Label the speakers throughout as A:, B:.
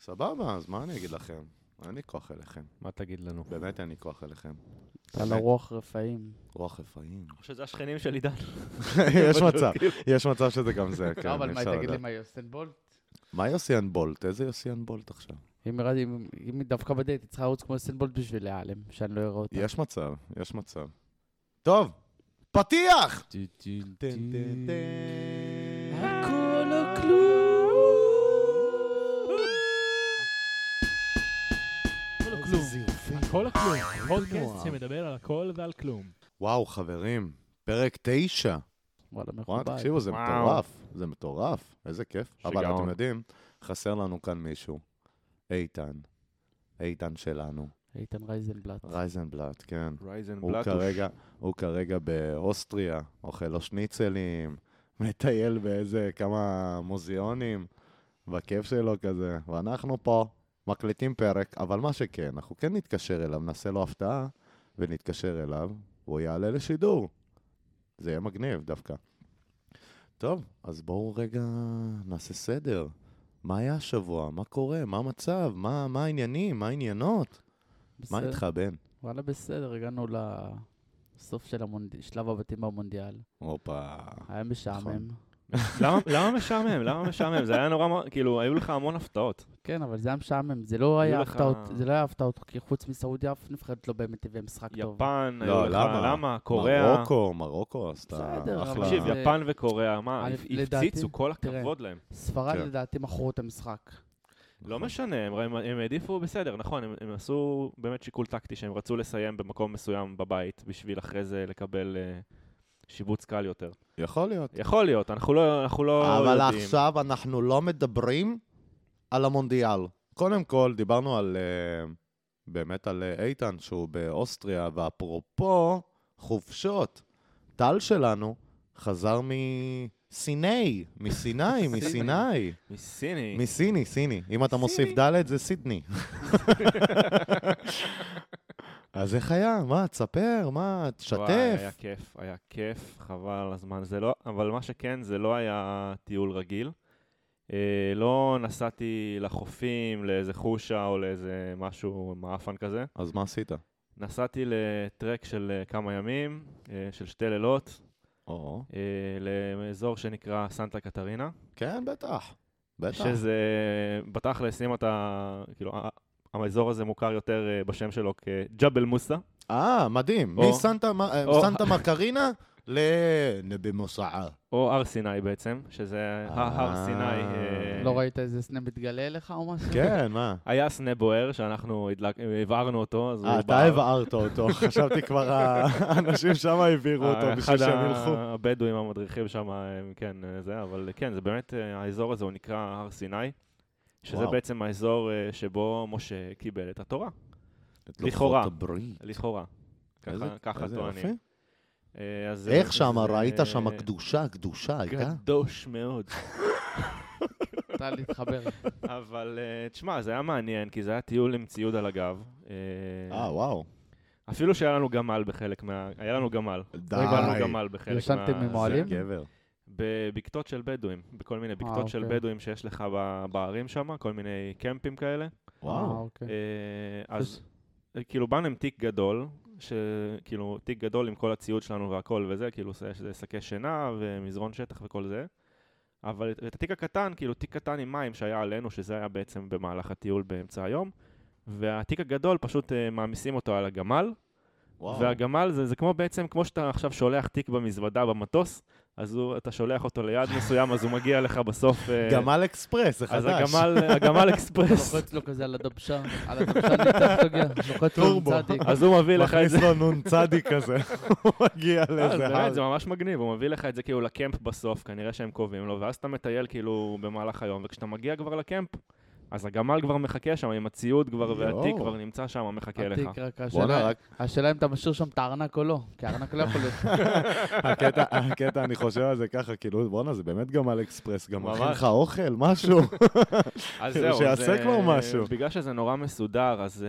A: סבבה, אז מה אני אגיד לכם? אין לי כוח אליכם.
B: מה תגיד לנו?
A: באמת אין לי כוח אליכם.
C: היה
A: כן.
C: לו רוח רפאים.
A: רוח רפאים.
D: או שזה השכנים של עידן.
A: יש מצב, יש מצב שזה גם זה, כן,
C: לא, אבל
A: אי
C: מה,
A: אפשר
C: תגיד לי,
A: לדעת.
C: מה, יוסטן בולט?
A: מה יוסיאן בולט? איזה יוסיאן בולט עכשיו?
C: אם ירד- אם- אם היא דווקא בדייט, היא צריכה לרוץ כמו יוסטן בולט בשביל להיעלם, שאני לא אראה אותה.
A: יש מצב, יש מצב. טוב, פתיח!
C: הכל או כלום.
E: הכל או כלום. הכל או כלום. פודקאסט שמדבר על הכל ועל כלום.
A: וואו, חברים, פרק תשע.
C: וואלה,
A: וואו,
C: מכובד.
A: תקשיבו, זה
B: וואו.
A: מטורף, זה מטורף, איזה כיף. אבל
B: שיגעון.
A: אתם יודעים, חסר לנו כאן מישהו. איתן. איתן שלנו,
C: איתן רייזנבלט.
A: רייזנבלט, כן.
B: רייזן
A: הוא כרגע, הוא כרגע באוסטריה, אוכל לו שניצלים, מטייל באיזה כמה מוזיאונים, בכיף שלו כזה, ואנחנו פה, מקליטים פרק, אבל מה שכן, אנחנו כן נתקשר אליו, נעשה לו הפתעה, ונתקשר אליו, והוא יעלה לשידור. זה יהיה מגניב דווקא. טוב, אז בואו רגע נעשה סדר. מה היה השבוע? מה קורה? מה המצב? מה, מה העניינים? מה העניינות? מה
C: בסדר.
A: איתך, בן?
C: וואלה, בסדר, הגענו לסוף של המונד- שלב הבתים במונדיאל.
A: הופה.
C: היה
A: נכון.
C: משעמם.
D: למה משעמם? למה משעמם? זה היה נורא, מ- כאילו, היו לך המון הפתעות.
C: כן, אבל זה היה משעמם, זה לא היה
D: לך-
C: הפתעות, זה לא היה הפתעות, כי חוץ מסעודיה אף נבחרת לא באמת הביאה משחק טוב.
D: יפן,
A: לא,
D: היו לך,
A: למה?
D: למה? קוריאה.
A: מרוקו, מרוקו עשתה
C: בסדר,
A: אחלה.
C: אבל
D: תקשיב,
C: זה-
D: יפן וקוריאה, מה,
C: אני- לדעתי-
D: הפציצו, כל הכבוד להם.
C: ספרד
A: כן.
C: לדעתי מכרו את המשחק.
D: לא
A: נכון.
D: משנה, הם- הם הם העדיפו, בסדר, נכון, הם- הם עשו באמת שיקול טקטי שהם רצו לסיים במקום מסוים בבית, בשביל אחרי זה לקבל אה, שיבוץ קל יותר.
A: יכול להיות.
D: יכול להיות, אנחנו לא אנחנו לא יודעים.
A: אבל עכשיו אנחנו לא מדברים על המונדיאל. קודם כל, דיברנו על... אה, באמת על אה, איתן, שהוא באוסטריה, ואפרופו חופשות, טל שלנו חזר מסיני, מסיני, מסיני,
D: מסיני.
A: מסיני, סיני. אם אתה מוסיף ד' זה סידני. אז איך היה? מה, תספר? מה,
D: וואי,
A: תשתף?
D: היה כיף, היה כיף, חבל על הזמן. זה לא, אבל מה שכן, זה לא היה טיול רגיל. אה, לא נסעתי לחופים, לאיזה חושה או לאיזה משהו מעפן כזה.
A: אז מה עשית?
D: נסעתי לטרק של אה, כמה ימים, אה, של שתי לילות,
A: או.
D: אה, לאזור שנקרא סנטה קטרינה,
A: כן, בטח. בטח.
D: שזה אה, בתכלס, אם אתה, כאילו, ה- האזור הזה מוכר יותר אה, בשם שלו כג'בל מוסה.
A: אה, מדהים.
D: או.
A: מסנטה מ- אה,
D: או.
A: סנטה מרקרינה לנבי מוסעה.
D: או הר סיני בעצם, שזה
A: אה.
D: הר סיני. אה,
C: לא ראית איזה סנה מתגלה אליך או משהו?
A: כן, מה?
D: היה סנה בוער שאנחנו הדלק- הבערנו אותו, אז הוא
A: אה, אתה הבערת אותו, חשבתי כבר האנשים שם העבירו אותו בשביל שהם ילכו.
D: אה, אחד הבדואים המדריכים שם, הם כן, אה, זה, אבל כן, זה באמת, אה, האזור הזה הוא נקרא הר סיני, שזה
A: וואו.
D: בעצם האזור אה, שבו משה קיבל את התורה,
A: את לוחות
D: לכאורה.
A: הברית.
D: לכאורה. ככה-
A: איזה-
D: ככה
A: איזה
D: טוענים.
A: יופי.
D: אה, אז זה-
A: איך שם,
D: זה-
A: ראית שם קדושה, קדושה הייתה?
D: גדוש מאוד.
C: אתה להתחבר.
D: אבל אה, תשמע, זה היה מעניין, כי זה היה טיול עם ציוד על הגב. אה,
A: אה, וואו.
D: אפילו שהיה לנו גמל בחלק מה... היה לנו גמל.
A: די.
D: היה לנו גמל בחלק מה...
C: ישנתם עם אוהלים?
D: זה,
A: גבר.
D: בבקתות של בדואים, בכל מיני בקתות של
C: אוקיי.
D: בדואים שיש לך ב- בערים שם, כל מיני קמפים כאלה.
C: אה,
A: וואו.
C: אוקיי.
D: אה, אז אה, כאילו באנו עם תיק גדול, שכאילו תיק גדול עם כל הציוד שלנו והכל וזה, כאילו ש- שזה שקי שינה ומזרון שטח וכל זה. אבל את- את התיק הקטן, כאילו תיק קטן עם מים שהיה עלינו, שזה היה בעצם במהלך הטיול באמצע היום. והתיק הגדול, פשוט אה, מעמיסים אותו על הגמל,
A: וואו.
D: והגמל זה, זה כמו בעצם, כמו שאתה עכשיו שולח תיק במזוודה במטוס, אז הוא, אתה שולח אותו ליעד מסוים, אז הוא מגיע לך בסוף... אה,
A: גמל אקספרס, זה
D: אז
A: חדש.
D: הגמל, הגמל אקספרס,
C: לוחץ לו כזה על הדבשה, על הדבשה ניצח תוגיה, לוחץ לו עם
A: טורבו.
C: צדיק.
D: אז הוא מביא לך את
A: מכניס
D: זה.
A: לו נ"צ כזה, הוא מגיע
D: אז
A: לאיזה הר.
D: באמת, זה ממש מגניב, הוא מביא לך את זה כאילו לקמפ בסוף, כנראה שהם קובעים לו, ואז אתה מטייל כאילו במהלך היום, וכשאתה מגיע כבר לקמפ, אז הגמל כבר מחכה שם, עם הציוד כבר,
A: יואו.
D: והתיק כבר נמצא שם, מחכה כן, לך.
C: אה, עתיק, רק
A: בואנה,
C: השאלה,
A: רק
C: השאלה אם אתה משאיר שם את הארנק או לא, כי הארנק לא יכול להיות.
A: הקטע, הקטע, אני חושב על זה ככה, כאילו, בואנה, זה באמת גמל אקספרס, גם מכין
D: ממש.
A: לך אוכל, משהו. כאילו,
D: אז זהו,
A: שיעשה
D: זה-
A: כבר משהו.
D: בגלל שזה נורא מסודר, אז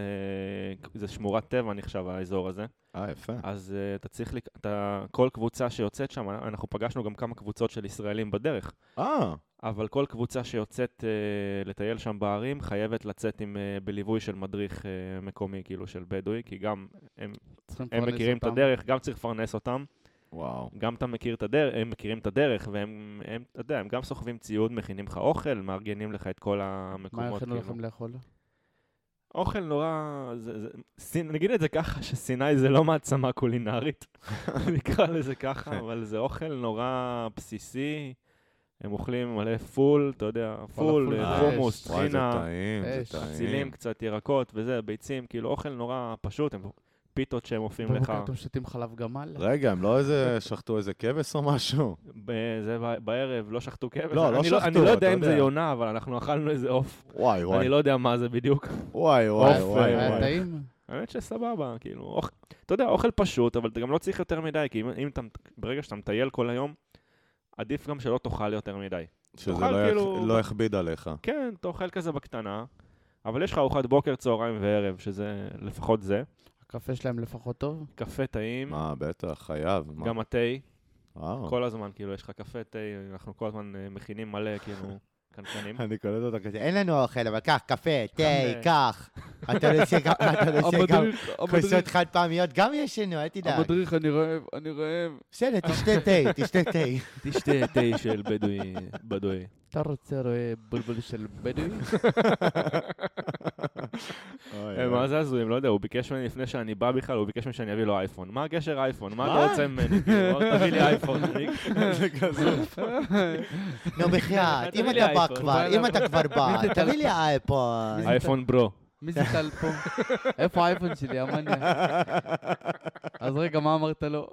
D: אה, זה שמורת טבע נחשב האזור הזה.
A: אה, יפה.
D: אז אה, אתה צריך, לק- אתה, כל קבוצה שיוצאת שם, אנחנו פגשנו גם כמה קבוצות של ישראלים בדרך.
A: אה,
D: אבל כל קבוצה שיוצאת אה, לטייל שם בערים חייבת לצאת עם, אה, בליווי של מדריך אה, מקומי, כאילו של בדואי, כי גם הם,
C: צריכים
D: הם
C: לפרנס
D: מכירים את
C: אותם.
D: הדרך, גם צריך לפרנס אותם,
A: וואו.
D: גם אתה מכיר את הדרך, הם מכירים את הדרך, והם, הם, אתה יודע, הם גם סוחבים ציוד, מכינים לך אוכל, מארגנים לך את כל
C: מה
D: המקומות.
C: יכולנו
D: כאילו.
C: לכם לאכול?
D: אוכל נורא, זה, זה, סין, נגיד את זה ככה, שסיני זה לא מעצמה קולינרית, נקרא לזה
A: כן.
D: ככה, אבל זה אוכל נורא בסיסי, הם אוכלים מלא פול, אתה יודע, פול,
C: פול
D: אה,
C: חדש.
D: חומוס,
A: וואי, זה
D: טחינה,
A: טעים,
C: אש.
A: זה
D: צילים,
A: טעים.
D: קצת ירקות וזה, ביצים, כאילו אוכל נורא פשוט, הם פיתות שהם עופים לך,
C: בבוקר אתם שותים חלב גמל?
A: רגע, הם לא איזה, שחטו איזה כבש או משהו?
D: ב- זה ב- בערב, לא שחטו כבש,
A: לא, לא
D: אני אני
A: שחטו,
D: לא
A: אתה
D: יודע אם זה
A: יודע.
D: יונה, אבל אנחנו אכלנו איזה עוף,
A: וואי, וואי,
D: אני לא יודע מה זה בדיוק.
A: וואי, וואי,
C: עוף,
A: וואי,
C: אה, היה
A: וואי.
C: טעים?
D: האמת שסבבה, כאילו, אוכ... אתה יודע, אוכל פשוט, אבל אתה גם לא צריך יותר מדי, כי אם, אם אתה, ברגע שאתה מטייל כל היום, עדיף גם שלא תאכל יותר מדי.
A: שזה
D: תאכל
A: לא יח-
D: כאילו-
A: לא יכביד עליך.
D: כן, אתה אוכל כזה בקטנה, אבל יש לך ארוחת בוקר, צהריים וערב, שזה לפחות זה.
C: הקפה שלהם לפחות טוב?
D: קפה טעים,
A: מה, בטח, חייב. מה?
D: גם התה,
A: וואו.
D: כל הזמן, כאילו, יש לך קפה, תה, אנחנו כל הזמן אה, מכינים מלא, כאילו, קנקנים.
A: אני קולט אותה כזה, אין לנו אוכל, אבל קח אוקיי. קפה, תה,
D: חמש.
A: קח. אתה רוצה גם, אתה רוצה גם כוסות חד פעמיות, גם יש לנו, אל תדאג.
C: המדריך, אני רעב, אני רעב.
A: בסדר, תשתה תה, תשתה תה.
D: תשתה תה של בדואי, בדואי.
C: אתה רוצה רואה בולבול של בדואי?
A: אוי,
D: אה,
A: אוי.
D: מה זה הזויים? לא יודע, הוא ביקש ממני לפני שאני בא בכלל, הוא ביקש ממני שאני אביא לו אייפון. מה הקשר אייפון? מה
A: מה?
D: אתה רוצה ממני? כאילו, תביא לי אייפון. אני-
A: זה כזה. נו, בחייאת, אם
D: תביא לי
A: אתה בא
D: אייפון.
A: כבר, אם אתה כבר בא, תביא לי אייפון.
C: מי זה?
D: אייפון ברו.
C: מי זה טל פה? איפה האייפון שלי, המניה? אז רגע, מה אמרת לא- לו?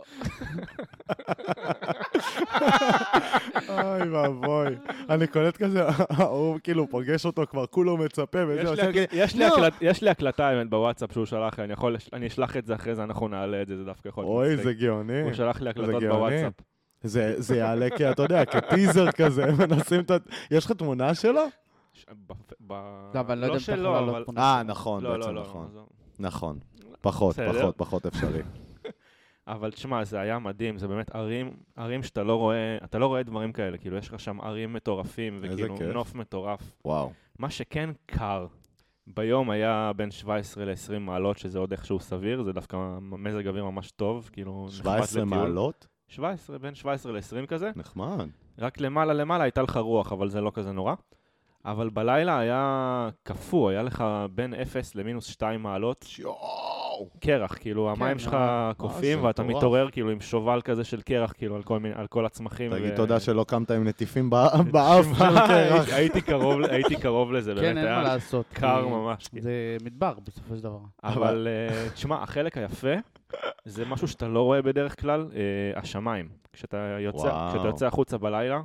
A: אוי ואבוי. אני קולט כזה, הוא כאילו פוגש אותו כבר, כולו מצפה,
D: יש
A: וזה
D: לי
A: עושה
D: הקל-
A: כזה,
D: יש לי
A: לא.
D: הקלט- יש לי הקלטה, האמת, בוואטסאפ שהוא שלח לי, אני יכול- אני אשלח את זה אחרי זה, אנחנו נעלה את זה, זה דווקא יכול להיות
A: אוי,
D: מצחיק.
A: זה גאוני.
D: הוא שלח לי הקלטות
A: גאוני.
D: בוואטסאפ.
A: זה זה יעלה כי אתה יודע, כטיזר כזה, הם מנסים את ה... יש לך תמונה שלו?
D: ש- בפ- ב-
C: לא, אבל אני לא יודע אם אתה יכול
D: שלו,
C: לעלות
D: אבל-
C: תמונה.
A: אה, נכון,
D: לא,
A: בעצם
D: לא, לא,
A: נכון.
D: עזוב.
A: נכון. פחות,
D: בסדר.
A: פחות, פחות אפשרי.
D: אבל תשמע, זה היה מדהים, זה באמת ערים, ערים שאתה לא רואה, אתה לא רואה דברים כאלה, כאילו, יש לך שם ערים מטורפים,
A: איזה
D: וכאילו,
A: כיף.
D: נוף מטורף.
A: וואו.
D: מה שכן קר, ביום היה בין 17 ל-20 מעלות, שזה עוד איכשהו סביר, זה דווקא מזג אוויר ממש טוב, כאילו נחמד
A: 17
D: לטיול.
A: מעלות?
D: 17, בין 17 ל-20 כזה,
A: נחמד.
D: רק למעלה למעלה הייתה לך רוח, אבל זה לא כזה נורא. אבל בלילה היה קפוא, היה לך בין 0 למינוס 2 מעלות
A: יואו!
D: קרח, כאילו המים שלך
C: אה,
D: קופאים
A: זה
D: ואתה
A: מטורף.
D: מתעורר כאילו עם שובל כזה של קרח, כאילו על כל, מיני, על כל הצמחים.
A: תגיד
D: ו-
A: תודה שלא קמת עם נטיפים בא- באף של קרח.
D: הייתי קרוב, הייתי קרוב לזה,
C: כן,
D: באמת,
C: אין מה
D: היה
C: לעשות.
D: קר
C: כי
D: ממש. כאילו.
C: זה מדבר בסופו של דבר.
D: אבל אה, תשמע, החלק היפה זה משהו שאתה לא רואה בדרך כלל, אה, השמיים. כשאתה יוצא,
A: וואו.
D: כשאתה יוצא החוצה בלילה,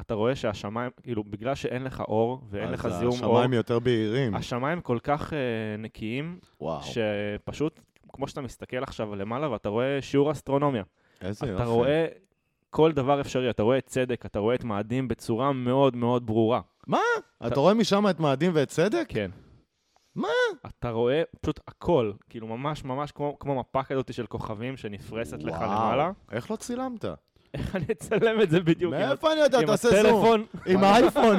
D: אתה רואה שהשמיים, כאילו, בגלל שאין לך אור ואין
A: אז
D: לך זיהום אור,
A: השמיים יותר בהירים.
D: השמיים כל כך אה, נקיים,
A: וואו,
D: שפשוט, כמו שאתה מסתכל עכשיו למעלה ואתה רואה שיעור אסטרונומיה.
A: איזה יופי.
D: אתה רואה כל דבר אפשרי, אתה רואה את צדק, אתה רואה את מאדים בצורה מאוד מאוד ברורה.
A: אתה רואה משם את מאדים ואת צדק?
D: כן.
A: מה?
D: אתה רואה פשוט הכל, כאילו ממש ממש כמו, כמו מפה כזאת של כוכבים שנפרסת לך
A: וואו.
D: למעלה.
A: איך לא צילמת?
D: איך אני אצלם את זה בדיוק? עם ה-
A: מאיפה אני יודע?
D: עם
A: תעשה זום.
D: הטלפון.
A: עם האייפון.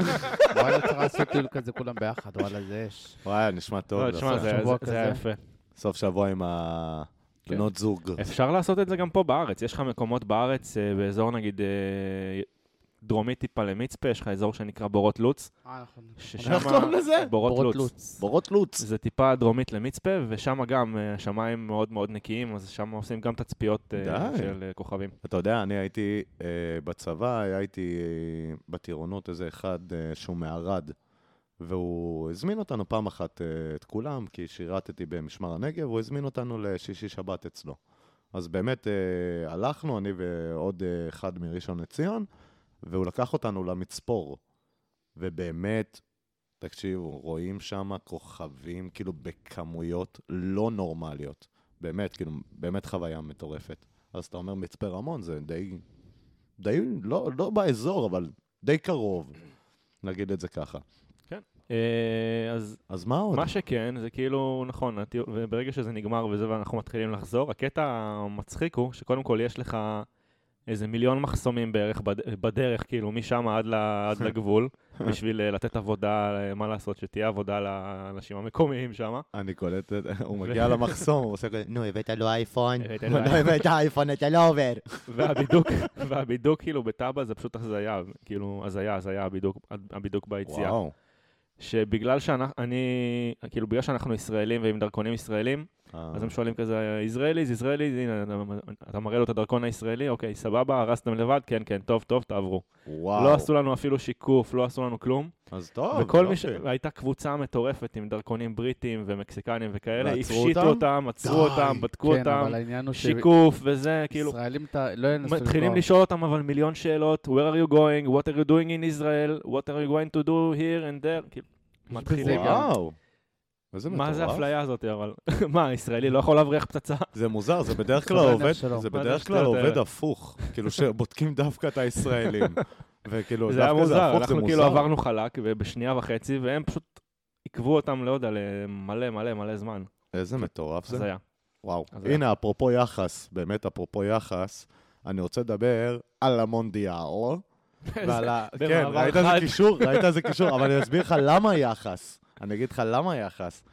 C: וואלה, צריך לעשות טיול כזה כולם ביחד, וואלה, זה אש.
A: וואי, נשמע טוב.
D: לא, תשמע,
A: לעשות
D: זה-
C: שבוע
D: זה- זה היה יפה.
C: כזה.
A: סוף שבוע עם
D: כן.
A: הבנות זוג.
D: אפשר לעשות את זה גם פה בארץ. יש לך מקומות בארץ, אה, באזור נגיד אה, דרומית טיפה למצפה, יש לך אזור שנקרא בורות לוץ.
C: אה, נכון.
D: ששם...
A: איך קוראים לזה?
D: לא בורות לוץ.
C: כן,
A: בורות לוץ.
D: זה טיפה דרומית למצפה, ושם גם אה, השמיים מאוד מאוד נקיים, אז שם עושים גם תצפיות אה,
A: די.
D: של אה, כוכבים.
A: אתה יודע, אני הייתי אה, בצבא, היה איתי אה, בטירונות איזה אחד אה, שהוא מערד, והוא הזמין אותנו פעם אחת, אה, את כולם, כי שירתתי במשמר הנגב, הוא הזמין אותנו לשישי-שבת אצלו. אז באמת אה, הלכנו, אני ועוד אה, אחד מראשון לציון, והוא לקח אותנו למצפור. ובאמת, תקשיבו, רואים שם כוכבים, כאילו, בכמויות לא נורמליות. באמת, כאילו, באמת חוויה מטורפת. אז אתה אומר מצפה רמון, זה די, די, לא, לא באזור, אבל די קרוב, נגיד את זה ככה.
D: אה, אז
A: אז מה עוד?
D: מה שכן, זה כאילו, נכון, הטיול- וברגע שזה נגמר וזה, ואנחנו מתחילים לחזור, הקטע המצחיק הוא שקודם כל יש לך איזה מיליון מחסומים בערך בד- בדרך, כאילו, משם עד, ל, עד לגבול, בשביל אה, לתת עבודה, אה, מה לעשות, שתהיה עבודה לאנשים המקומיים שם.
A: אני קולט את זה, הוא מגיע למחסום, הוא עושה כזה, נו, הבאת לו אייפון,
D: הבאת לו
A: לא
D: אייפון."
A: הבאת אייפון, אתה לא עובר.
D: והבידוק, והבידוק כאילו בטאבה זה פשוט הזיה, כאילו, הזיה, הזיה, הבידוק, הבידוק ביציאה.
A: וואו,
D: שבגלל שאנחנו, אני, כאילו, בגלל שאנחנו ישראלים ועם דרכונים ישראלים,
A: אה,
D: אז הם שואלים כזה, ישראליז, ישראליז, הנה, אתה- אתה מראה לו את הדרכון הישראלי, אוקיי, סבבה, הרסתם לבד, כן, כן, טוב, טוב, תעברו.
A: וואו,
D: לא עשו לנו אפילו שיקוף, לא עשו לנו כלום.
A: אז טוב,
D: וכל מי ש...
A: יופי.
D: הייתה קבוצה מטורפת עם דרכונים בריטים ומקסיקנים וכאלה,
A: ועצרו
D: הפשיטו
A: אותם?
D: אותם, עצרו
A: די.
D: אותם, בדקו
C: כן,
D: אותם,
C: אבל העניין הוא
D: שיקוף וזה, כאילו,
C: שישראלים אתה- לא ינסו
D: מתחילים
C: לפגוע.
D: לשאול אותם אבל מיליון שאלות, where are you going, what are you doing in Israel, what are you going to do here and there, כאילו,
C: יש
D: מתחילים.
C: בזה גם-
A: וואו, איזה מטורף.
D: מה זה האפליה הזאת אבל? מה, ישראלי לא יכול להבריח פצצה?
A: זה מוזר, זה בדרך כלל
C: סבבה,
A: עובד,
C: נפש שלו.
A: זה
D: מה זה
A: בדרך כלל
D: השטויות
A: עובד
D: האלה?
A: הפוך, כאילו שבודקים דווקא את הישראלים. וכאילו,
D: זה היה
A: דווקא זה
D: מוזר,
A: הפוך, זה
D: אנחנו כאילו
A: מוזר.
D: עברנו חלק ובשנייה וחצי, והם פשוט עיכבו אותם, לא יודע, למלא מלא מלא זמן.
A: איזה מטורף
D: אז
A: זה.
D: היה.
A: וואו.
D: אז
A: הנה, אפרופו יחס, באמת אפרופו יחס, אני רוצה לדבר על המונדיאל. ועל ה...
D: איזה-
A: כן,
D: במעבר
A: ראית איזה
D: חד.
A: קישור? ראית איזה קישור? אבל אני אסביר לך למה יחס. אני אגיד לך למה יחס.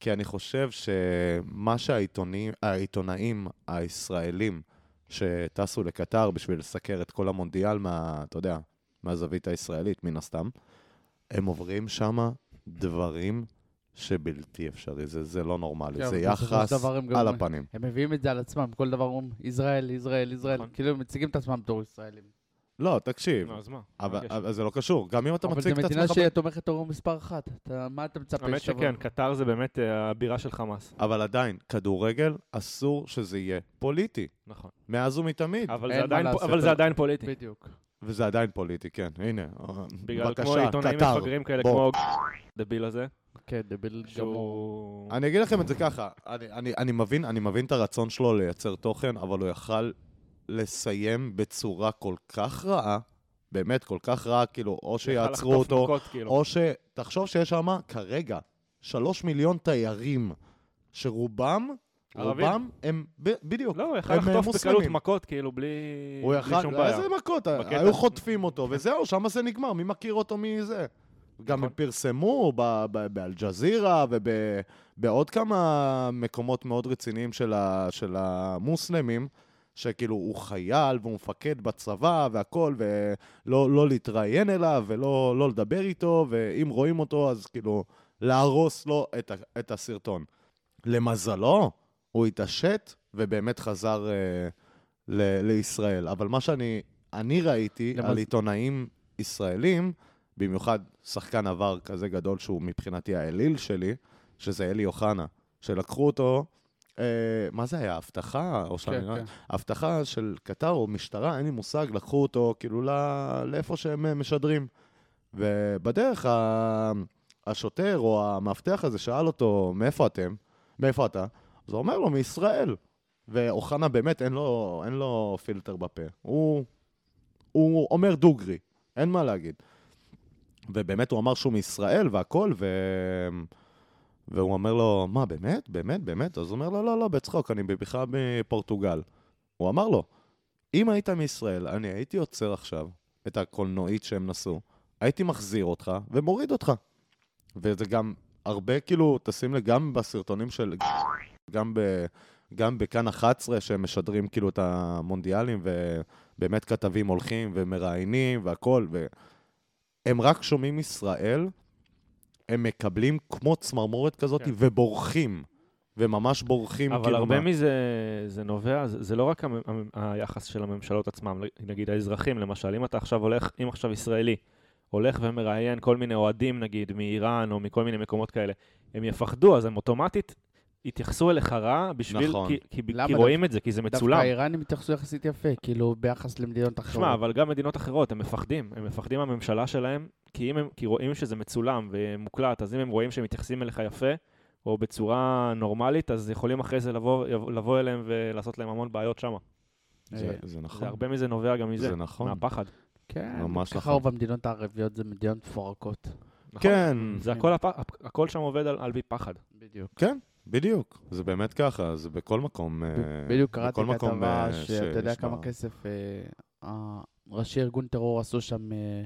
A: כי אני חושב שמה שהעיתונים, העיתונאים הישראלים שטסו לקטר בשביל לסקר את כל המונדיאל מה... אתה יודע, מהזווית הישראלית, מן הסתם, הם עוברים שמה דברים שבלתי אפשרי. זה, זה לא נורמלי.
C: כן,
A: זה
C: אבל בסופו של
A: יחס
C: דבר הם גם-
A: על הפנים.
C: הם מביאים את זה על עצמם, כל דבר אומרים, ישראל, ישראל, ישראל.
D: נכון.
C: כאילו הם מציגים את עצמם בתור ישראלים.
A: לא, תקשיב,
D: נו, אז מה?
A: אבל,
D: בבקשה.
A: אבל זה לא קשור. גם אם אתה
C: אבל זו
A: מציג את
C: מדינה
A: עצמך...
C: שתומכת טרור מספר אחת. אתה- מה אתה מצפה
D: האמת
C: שתבוא?
D: שכן, כן. קטר זה באמת אה, הבירה של חמאס.
A: אבל עדיין, כדורגל, אסור שזה יהיה פוליטי.
D: נכון.
A: מאז ומתמיד.
D: אבל
C: אין
D: זה
C: מה
D: עדיין-
C: לעשות,
D: אבל זה
A: אה.
C: אבל-
D: עדיין פוליטי.
C: בדיוק.
A: וזה עדיין פוליטי, כן, הנה.
D: בגלל כמו
A: בבקשה,
D: עיתונאים
A: קטר,
D: מפגרים כאלה,
A: בוא.
D: כמו דביל הזה,
C: כן, דביל גמור.
D: שהוא...
A: אני אגיד לכם את זה ככה, אני, אני, אני, מבין, אני מבין את הרצון שלו לייצר תוכן, אבל הוא יכל לסיים בצורה כל כך רעה, באמת כל כך רעה, כאילו, או שיעצרו
D: יכל לחטוף
A: אותו,
D: מכות, כאילו.
A: או ש... תחשוב שיש שם כרגע שלוש מיליון תיירים, שרובם,
D: ערבים.
A: רובם הם, ב, בדיוק,
D: לא, הוא יכל
A: הם,
D: לחטוף
A: אה,
D: בקלות
A: מוסלמים.
D: מכות, כאילו, בלי
A: הוא
D: בלי שום
A: יכל,
D: בעיה.
A: איזה מכות,
D: בקטע.
A: היו חוטפים אותו, וזהו, שם זה נגמר, מי מכיר אותו מזה? גם
D: נכון.
A: הם פרסמו ב- ב- באלג'זירה ובעוד כמה מקומות מאוד רציניים של ה- של המוסלמים, שכאילו הוא חייל והוא מפקד בצבא והכל, ולא לא להתראיין אליו ולא לא לדבר איתו, ואם רואים אותו אז כאילו להרוס לו את, ה- את הסרטון. למזלו, הוא התעשת ובאמת חזר אה, ל- לישראל. אבל מה שאני אני ראיתי
C: למז-
A: על עיתונאים ישראלים, במיוחד שחקן עבר כזה גדול שהוא מבחינתי האליל שלי, שזה אלי אוחנה, שלקחו אותו, אה, מה זה היה, הבטחה? או שאני
C: כן,
A: לא-
C: כן.
A: אבטחה של קטר או משטרה, אין לי מושג, לקחו אותו כאילו ל- לאיפה שהם אה, משדרים. ובדרך ה... השוטר או המאבטח הזה שאל אותו, מאיפה אתם? מאיפה אתה? אז הוא אומר לו, מישראל. ואוחנה באמת, אין לו, אין לו פילטר בפה. הוא, הוא אומר דוגרי, אין מה להגיד. ובאמת, הוא אמר שהוא מישראל והכל, ו... והוא אומר לו, מה, באמת? באמת? באמת? אז הוא אומר לו, לא, לא, בצחוק, אני בכלל מפורטוגל. הוא אמר לו, אם היית מישראל, אני הייתי עוצר עכשיו את הקולנועית שהם נסעו, הייתי מחזיר אותך ומוריד אותך. וזה גם הרבה, כאילו, תשים לי גם בסרטונים של... גם, ב, גם בכאן 11, שהם משדרים כאילו את המונדיאלים, ובאמת כתבים הולכים ומראיינים והכול, והם רק שומעים ישראל, הם מקבלים כמו צמרמורת כזאת
D: כן.
A: ובורחים, וממש בורחים.
D: אבל
A: כאילו,
D: הרבה
A: מה-
D: מזה זה נובע, זה זה לא רק המ- המ- היחס של הממשלות עצמם, נגיד האזרחים למשל, אם אתה עכשיו הולך, אם עכשיו ישראלי הולך ומראיין כל מיני אוהדים נגיד מאיראן או מכל מיני מקומות כאלה, הם יפחדו, אז הם אוטומטית יתייחסו אליך רע בשביל,
A: נכון.
D: כי- כי
C: למה
D: כי
C: דווקא-
D: רואים את זה, כי זה
C: דווקא
D: מצולם.
C: האיראנים התייחסו יחסית יפה, כאילו ביחס למדינות אחרות.
D: תשמע, אבל גם מדינות אחרות, הם מפחדים, הם מפחדים מהממשלה שלהם, כי, אם הם, כי רואים שזה מצולם ומוקלט, אז אם הם רואים שהם מתייחסים אליך יפה, או בצורה נורמלית, אז יכולים אחרי זה לבוא, יב- לבוא אליהם ולעשות להם המון בעיות שם.
A: זה,
C: אה,
A: זה
D: נכון. זה
A: נכון.
D: הרבה מזה נובע גם מזה,
A: זה נכון.
D: מהפחד.
C: כן,
A: ממש
C: ככה
A: נכון.
C: רוב המדינות הערביות זה מדינות מפורקות.
D: נכון?
A: כן,
D: זה הכל, הפ... הכל שם עובד על, על פי פחד.
C: בדיוק.
A: כן, בדיוק, זה באמת ככה, זה בכל מקום. אה,
C: בדיוק קראתי
A: בכל מקום,
C: כתבה
A: אה,
C: שאתה יודע
A: שנשמע.
C: כמה כסף אה, ה- ראשי ארגון טרור עשו שם אה,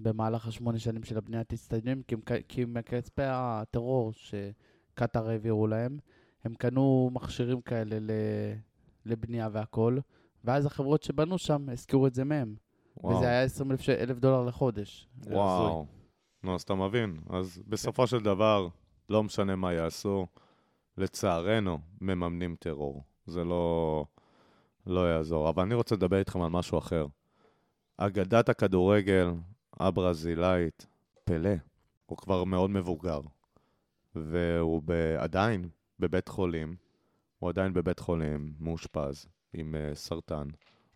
C: במהלך השמונה שנים של הבניית אצטדיונים, כי הם ק- כי מכספי הטרור שקטאר העבירו להם, הם קנו מכשירים כאלה ל- לבנייה והכול, ואז החברות שבנו שם הזכירו את זה מהם,
A: וואו.
C: וזה היה 20 אלף ש- אלף דולר לחודש.
D: זה הזוי.
A: וואו. נו, אז אתה מבין. אז בסופו של דבר, לא משנה מה יעשו, לצערנו, מממנים טרור. זה לא, לא יעזור. אבל אני רוצה לדבר איתכם על משהו אחר. אגדת הכדורגל הברזילאית, פלא, הוא כבר מאוד מבוגר, והוא ב, עדיין בבית חולים, הוא עדיין בבית חולים, מאושפז, עם אה, סרטן.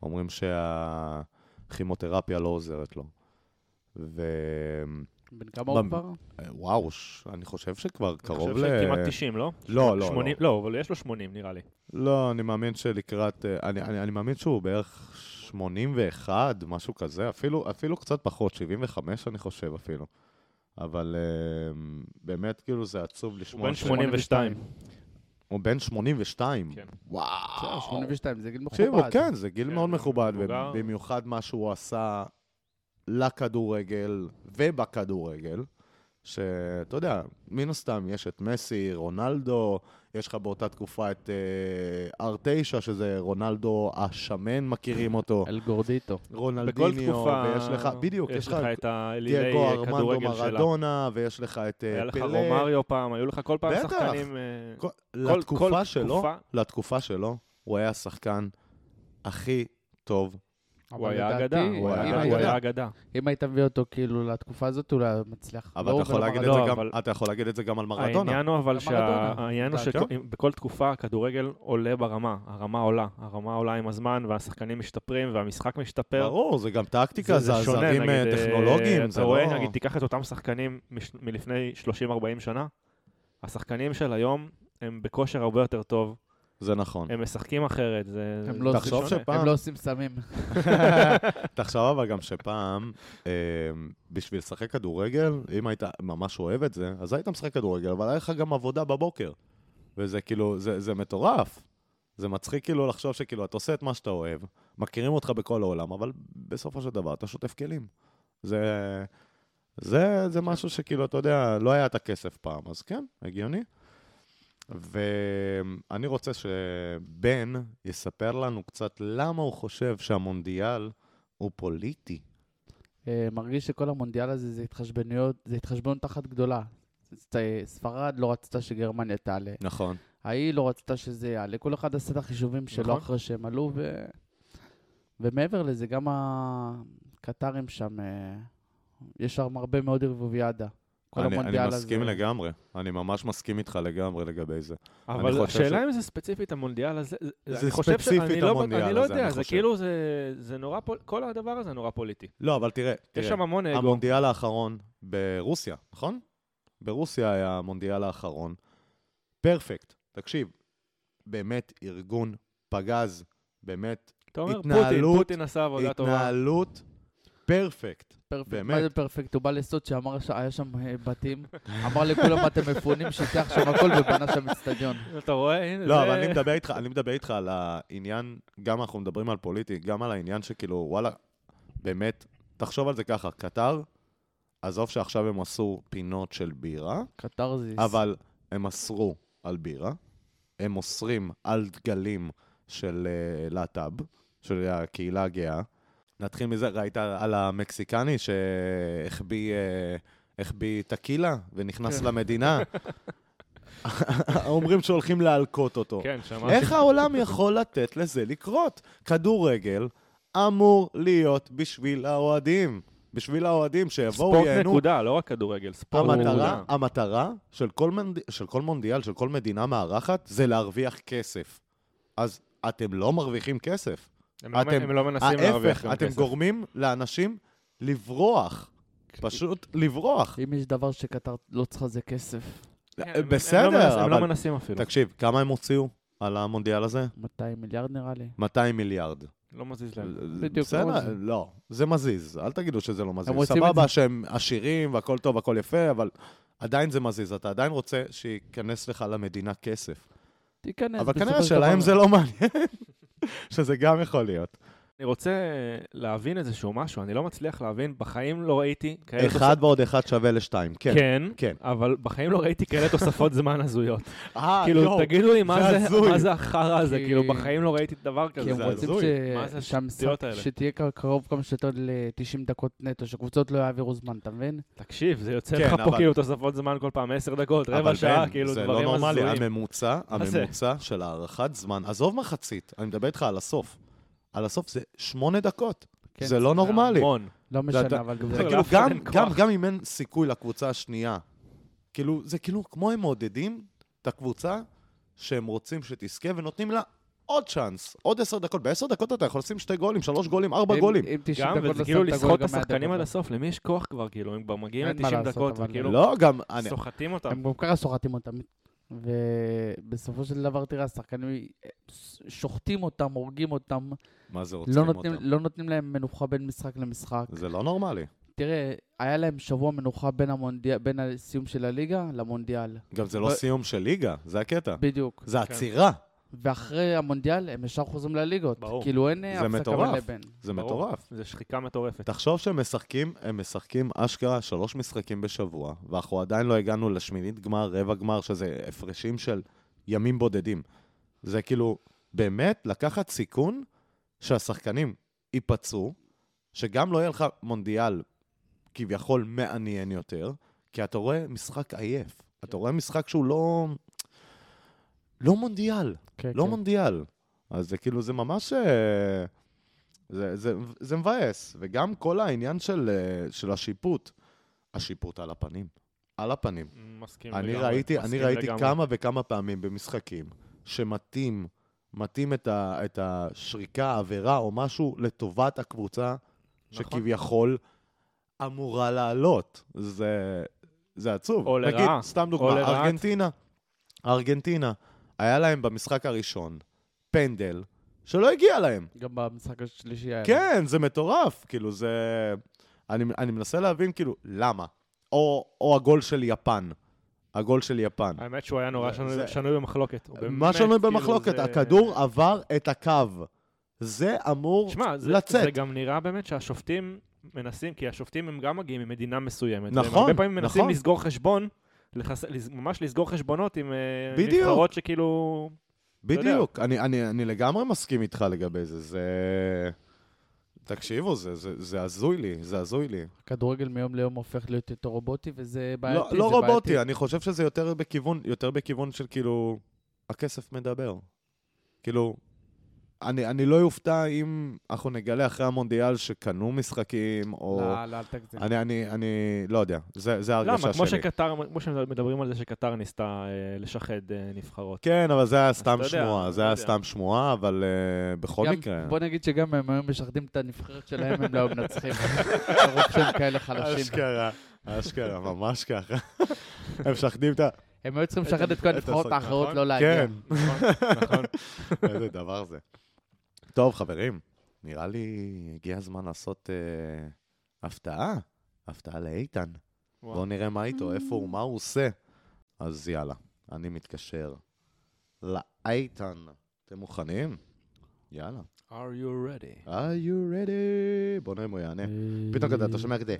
A: אומרים שהכימותרפיה לא עוזרת לו. ו...
C: בן כמה הוא
A: במ-
C: כבר?
A: אה, וואו, ש... אני חושב שכבר
D: אני
A: קרוב
D: חושב
A: ל...
D: שכמעט 90, לא?
A: לא, לא,
D: 80,
A: לא.
D: לא, אבל יש לו 80 נראה לי.
A: לא, אני מאמין שלקראת... אה, אני, אני, אני מאמין שהוא בערך 81, משהו כזה, אפילו, אפילו קצת פחות, 75 אני חושב אפילו. אבל אה, באמת, כאילו, זה עצוב
D: הוא
A: לשמוע...
D: בן
A: ש-
D: 82.
A: הוא בן 82.
D: כן.
C: בסדר,
A: וואו.
C: 82, זה גיל
A: תקשיבו,
C: מכובד.
A: כן, זה גיל
D: כן,
A: מאוד
D: הוא
A: מכובד,
D: מבוגר.
A: ובמיוחד מה שהוא עשה לכדורגל ובכדורגל, שאתה יודע, מן הסתם יש את מסי, רונלדו, יש לך באותה תקופה את אה, R9, שזה רונלדו השמן, מכירים אותו,
C: אל גורדיטו.
D: בכל
A: רונלדיניו,
D: תקופה...
A: ויש לך, בדיוק,
D: יש לך את האלילי
A: דייגו ארמנדו
D: כדורגל שלה.
A: מרדונה, ויש לך את אה, פלא.
D: היה לך רומריו פעם, היו לך כל פעם
A: בטח.
D: שחקנים... אה,
A: כל-
D: כל- כל
A: לתקופה שלו,
D: תקופה-
A: לתקופה שלו, הוא היה השחקן הכי טוב
D: הוא
C: אבל
D: היה
C: לדעתי,
D: אגדה, הוא
A: אם
D: היה-
A: היית-
D: הוא היה אגדה.
C: אם היית מביא אותו כאילו לתקופה הזאת, הוא לא היה מצליח.
A: אבל
C: לא
A: אתה
C: הוא
A: יכול
C: ולא
A: להגיד את
C: מרדונה.
A: זה
D: לא,
A: גם-
D: אבל-
A: אתה יכול להגיד את זה גם על מרדונה.
D: העניין הוא אבל
C: למרדונה.
D: שהעניין הוא
A: לדעתי.
D: שבכל תקופה הכדורגל עולה ברמה, הרמה עולה, הרמה עולה עם הזמן והשחקנים משתפרים והמשחק משתפר.
A: ברור, זה גם טקטיקה, זה עזרים אה,
D: נגיד, אה,
A: טכנולוגיים, זה
D: אתה
A: לא...
D: רואה, נגיד, תיקח את אותם שחקנים מש- מלפני 30-40 שנה, השחקנים של היום הם בכושר הרבה יותר טוב,
A: זה נכון.
D: הם משחקים אחרת, זה...
C: הם
D: זה-
C: לא
D: זה
A: תחשוב
D: שונה.
A: שפעם-
C: הם לא עושים סמים.
A: תחשוב אבל גם שפעם, אה, בשביל לשחק כדורגל, אם היית ממש אוהב את זה, אז היית משחק כדורגל, אבל היה לך גם עבודה בבוקר. וזה כאילו, זה זה מטורף. זה מצחיק כאילו לחשוב שכאילו, אתה עושה את מה שאתה אוהב, מכירים אותך בכל העולם, אבל בסופו של דבר אתה שוטף כלים. זה... זה, זה משהו שכאילו, אתה יודע, לא היה את הכסף פעם, אז כן, הגיוני. ואני רוצה שבן יספר לנו קצת למה הוא חושב שהמונדיאל הוא פוליטי.
C: אה, מרגיש שכל המונדיאל הזה זה התחשבנויות, זה התחשבנות אחת גדולה. ס- אה, ספרד לא רצתה שגרמניה תעלה.
A: נכון.
C: ההיא לא רצתה שזה יעלה. כל אחד עשה את החישובים שלו
D: נכון.
C: אחרי שהם עלו, ו... ומעבר לזה, גם הקטרים שם, אה, יש שם הרבה מאוד ערבוביאדה. כל
A: אני,
C: המונדיאל
A: אני
C: הזה.
A: מסכים לגמרי, אני ממש מסכים איתך לגמרי לגבי זה. אני
D: אבל
A: חושב
D: השאלה אם זה ספציפית המונדיאל הזה,
A: זה
D: אני חושב
A: ספציפית
D: שאני לא-
A: המונדיאל
D: אני לא
A: הזה,
D: יודע,
A: אני
D: זה
A: חושב.
D: כאילו, זה- זה נורא, פול- כל הדבר הזה נורא פוליטי.
A: לא, אבל תראה,
D: יש
A: תראה,
D: שם המון אגו.
A: המונדיאל האחרון ברוסיה, נכון? ברוסיה היה המונדיאל האחרון. פרפקט, תקשיב, באמת ארגון פגז, באמת
D: אתה אומר, פוטין,
A: התנהלות-
D: פוטין עשה עבודה טובה.
A: התנהלות פרפקט.
C: פרפקט,
A: באמת.
C: מה זה פרפקט? הוא בא לסוד שאמר שהיה שם אה, בתים, אמר לכולם אתם מפונים, שיטח שם הכל ובנה שם אצטדיון.
D: אתה רואה? הנה,
A: לא,
D: זה-
A: אבל אני מדבר איתך, אני מדבר איתך על העניין, גם אנחנו מדברים על פוליטי, גם על העניין שכאילו, וואלה, באמת, תחשוב על זה ככה, קטר, עזוב שעכשיו הם עשו פינות של בירה,
C: קתרזיס.
A: אבל הם אסרו על בירה, הם אוסרים על דגלים של אה, להט"ב, של הקהילה הגאה. נתחיל מזה, ראית על המקסיקני שהחביא אה, החביא טקילה ונכנס
C: כן.
A: למדינה? אומרים שהולכים להלקות אותו.
D: כן, שמעתי.
A: איך העולם יכול לתת לזה לקרות? כדורגל אמור להיות בשביל האוהדים. בשביל האוהדים שיבואו,
D: ספורט
A: ייהנו אה,
D: נקודה, לא רק כדורגל, ספורט נקודה.
A: המטרה, המטרה של, כל מנד... של כל מונדיאל, של כל מדינה מארחת, זה להרוויח כסף. אז אתם לא מרוויחים כסף.
D: הם לא-
A: אתם-
D: הם לא מנסים להרוויח
A: ההפך,
D: גם
A: אתם
D: כסף.
A: גורמים לאנשים לברוח.
D: כן.
A: פשוט לברוח.
C: אם יש דבר שקטר לא צריכה זה כסף,
D: כן, הם- הם לא מנסים-
A: בסדר,
D: הם לא
A: אבל
D: מנסים אפילו.
A: תקשיב, כמה הם הוציאו על המונדיאל הזה?
C: 200 מיליארד נראה לי.
A: 200 מיליארד.
D: לא מזיז להם.
C: בדיוק, לא
A: כן. בסדר,
C: מזיז.
A: לא, זה מזיז, אל תגידו שזה לא
C: הם
A: מזיז.
C: רוצים את
A: סבבה
C: זה.
A: שהם עשירים והכל טוב והכל יפה, אבל עדיין זה מזיז, אתה עדיין רוצה שייכנס לך למדינה כסף.
C: תיכנס.
A: אבל
C: כן, בסופו
A: כנראה
C: של דבר.
A: שלהם זה לא מעניין, שזה גם יכול להיות.
D: אני רוצה להבין איזשהו משהו, אני לא מצליח להבין, בחיים לא ראיתי כאלה...
A: אחד ועוד אחד שווה לשתיים, כן.
D: כן,
A: כן.
D: אבל בחיים לא ראיתי כאלה תוספות זמן הזויות.
A: אה,
D: כאילו,
A: יואו.
D: תגידו לי, מה
A: זה
D: זה-
A: הזוי.
D: מה זה החרא הזה?
C: כי-
D: כאילו, בחיים לא ראיתי דבר
C: כי
D: כזה.
C: הם
A: זה
C: רוצים
A: הזוי.
D: מה זה
C: ש- שהמשחק,
D: השטויות האלה?
C: שתהיה ק- קרוב כמה שיותר ל-90 דקות נטו, שקבוצות לא יעבירו זמן, אתה מבין?
D: תקשיב, זה יוצא
A: כן,
D: לך פה
A: אבל-
D: כאילו תוספות זמן כל פעם, עשר דקות, רבע
A: אבל
D: שעה,
A: בן,
D: כאילו
A: זה
D: דברים
A: לא
D: הזויים.
A: נורמלי, הממוצע,
D: מה זה?
A: הממוצע של הארכת זמן, עזוב מחצית, אני מדבר איתך על הסוף. על הסוף זה שמונה דקות,
C: כן,
A: זה לא נורמלי.
D: המון.
C: לא
A: אתה-
C: משנה, אבל
A: זה
C: זה...
D: לאף
A: כאילו,
D: אחד
A: גם,
D: אין
A: גם,
D: כוח.
A: גם אם אין סיכוי לקבוצה השנייה, כאילו, זה כאילו כמו הם מעודדים את הקבוצה שהם רוצים שתזכה ונותנים לה עוד צ'אנס, עוד עשר דקות. בעשר דקות אתה יכול לשים שתי גולים, שלוש גולים, ארבע
C: אם-
A: גולים.
C: אם 90
D: גם,
C: דקות
D: וזה
C: לא
D: כאילו
C: שמת גול,
D: לסחוט את
C: גם מאה
D: השחקנים
C: דקות
D: עד
C: לא.
D: הסוף, למי יש כוח כבר, כאילו, הם כבר מגיעים
C: אין מה
D: ל-90
C: לעשות,
D: דקות,
C: אבל-
D: וכאילו,
A: לא, גם... אני-
D: סוחטים אותם.
C: הם גם ככה סוחטים אותם. ובסופו של דבר, תראה, השחקנים שוחטים אותם, הורגים אותם,
A: מה זה רוצים
C: לא נותנים,
A: אותם?
C: לא נותנים להם מנוחה בין משחק למשחק.
A: זה לא נורמלי.
C: תראה, היה להם שבוע מנוחה בין, המונדיאל, בין הסיום של הליגה למונדיאל.
A: גם זה לא
C: ב-
A: סיום של ליגה, זה הקטע.
D: כן.
C: בדיוק.
A: זה עצירה,
C: ואחרי המונדיאל הם ישר חוזרים לליגות.
D: ברור.
C: כאילו אין
A: זה
C: הפסקה בין
A: מטורף.
C: לבין.
A: זה
D: ברור.
A: מטורף.
D: זה שחיקה מטורפת.
A: תחשוב שהם משחקים, הם משחקים אשכרה שלוש משחקים בשבוע, ואנחנו עדיין לא הגענו לשמינית גמר, רבע גמר, שזה הפרשים של ימים בודדים. זה כאילו, באמת לקחת סיכון שהשחקנים ייפצעו, שגם לא יהיה לך מונדיאל כביכול מעניין יותר, כי אתה רואה משחק עייף. אתה רואה משחק שהוא לא... לא מונדיאל.
C: כן,
A: לא מונדיאל. אז זה כאילו, זה ממש... אה, זה, זה, זה מבאס. וגם כל העניין של, אה, של השיפוט, השיפוט על הפנים. על הפנים.
D: מסכים
A: אני
D: לגמרי,
A: ראיתי, אני
D: מסכים
A: ראיתי
D: לגמרי.
A: כמה וכמה פעמים במשחקים שמתאים, מתאים את, ה, את השריקה, העבירה או משהו לטובת הקבוצה
D: נכון.
A: שכביכול אמורה לעלות. זה, זה עצוב.
D: או
A: נגיד,
D: לרעה.
A: סתם
D: או
A: דוגמה,
D: לרעת.
A: ארגנטינה. ארגנטינה, היה להם במשחק הראשון פנדל שלא הגיע להם.
C: גם במשחק השלישי היה. להם.
A: כן, זה מטורף. כאילו, זה... אני, אני מנסה להבין, כאילו, למה? או, או הגול של יפן. הגול של יפן.
D: האמת שהוא היה נורא
A: זה-
D: שנוי-
A: זה-
D: שנוי במחלוקת. הוא
A: מה
D: באמת,
A: שנוי
D: כאילו,
A: במחלוקת,
D: זה-
A: הכדור עבר את הקו. זה אמור
D: שמע, זה,
A: לצאת.
D: זה גם נראה באמת שהשופטים מנסים, כי השופטים הם גם מגיעים ממדינה מסוימת. והם
A: נכון,
D: הרבה פעמים מנסים
A: נכון.
D: לסגור חשבון, לחס... לס- ממש לסגור חשבונות עם אה,
A: בדיוק.
D: נבחרות שכאילו... יודע.
A: בדיוק. אני, אני, אני לגמרי מסכים איתך לגבי זה. זה... תקשיבו, זה, זה, זה הזוי לי, זה הזוי לי.
C: הכדורגל מיום ליום הופך להיות יותר רובוטי, וזה בעייתי.
A: לא,
C: זה
A: לא רובוטי,
C: בעייתי.
A: אני חושב שזה יותר בכיוון, יותר בכיוון של כאילו, הכסף מדבר. כאילו, אני, אני לא אופתע אם אנחנו נגלה אחרי המונדיאל שקנו משחקים, או...
C: לא, לא, אל תגזים.
A: אני, אני, אני לא יודע, זה, זה
D: למה?
A: ההרגשה שלי.
D: כמו שקטר, כמו שמדברים על זה שקטר ניסתה אה, לשחד אה, נבחרות.
A: כן, אבל זה היה סתם
D: אתה יודע,
A: שמועה,
D: אתה
A: זה היה
D: יודע.
A: סם שמועה, אבל אה, בכל
C: לא גם-
A: מקרה.
C: בוא נגיד שגם אם היו משחדים את הנבחרת שלהם, הם לא היו מנצחים. ברור שהם כאלה חלשים.
A: אשכרה, אשכרה, ממש ככה. הם משחדים את ה...
C: הם היו צריכים לשחד את כל
A: את
C: הנבחרות
A: השחק-
C: האחרות
A: נכון?
C: לא להגיע.
A: כן.
D: נכון, נכון.
A: איזה דבר זה. טוב, חברים, נראה לי הגיע הזמן לעשות אה, הפתעה. הפתעה לאיתן. בואו נראה מה איתו, איפה הוא, מה הוא עושה. אז יאללה, אני מתקשר לאיתן. אתם מוכנים? יאללה.
D: are you ready?
A: are you ready? בואו נראה אם הוא יענה.
D: כן.
A: פתאום כזה, אתה שומע כזה.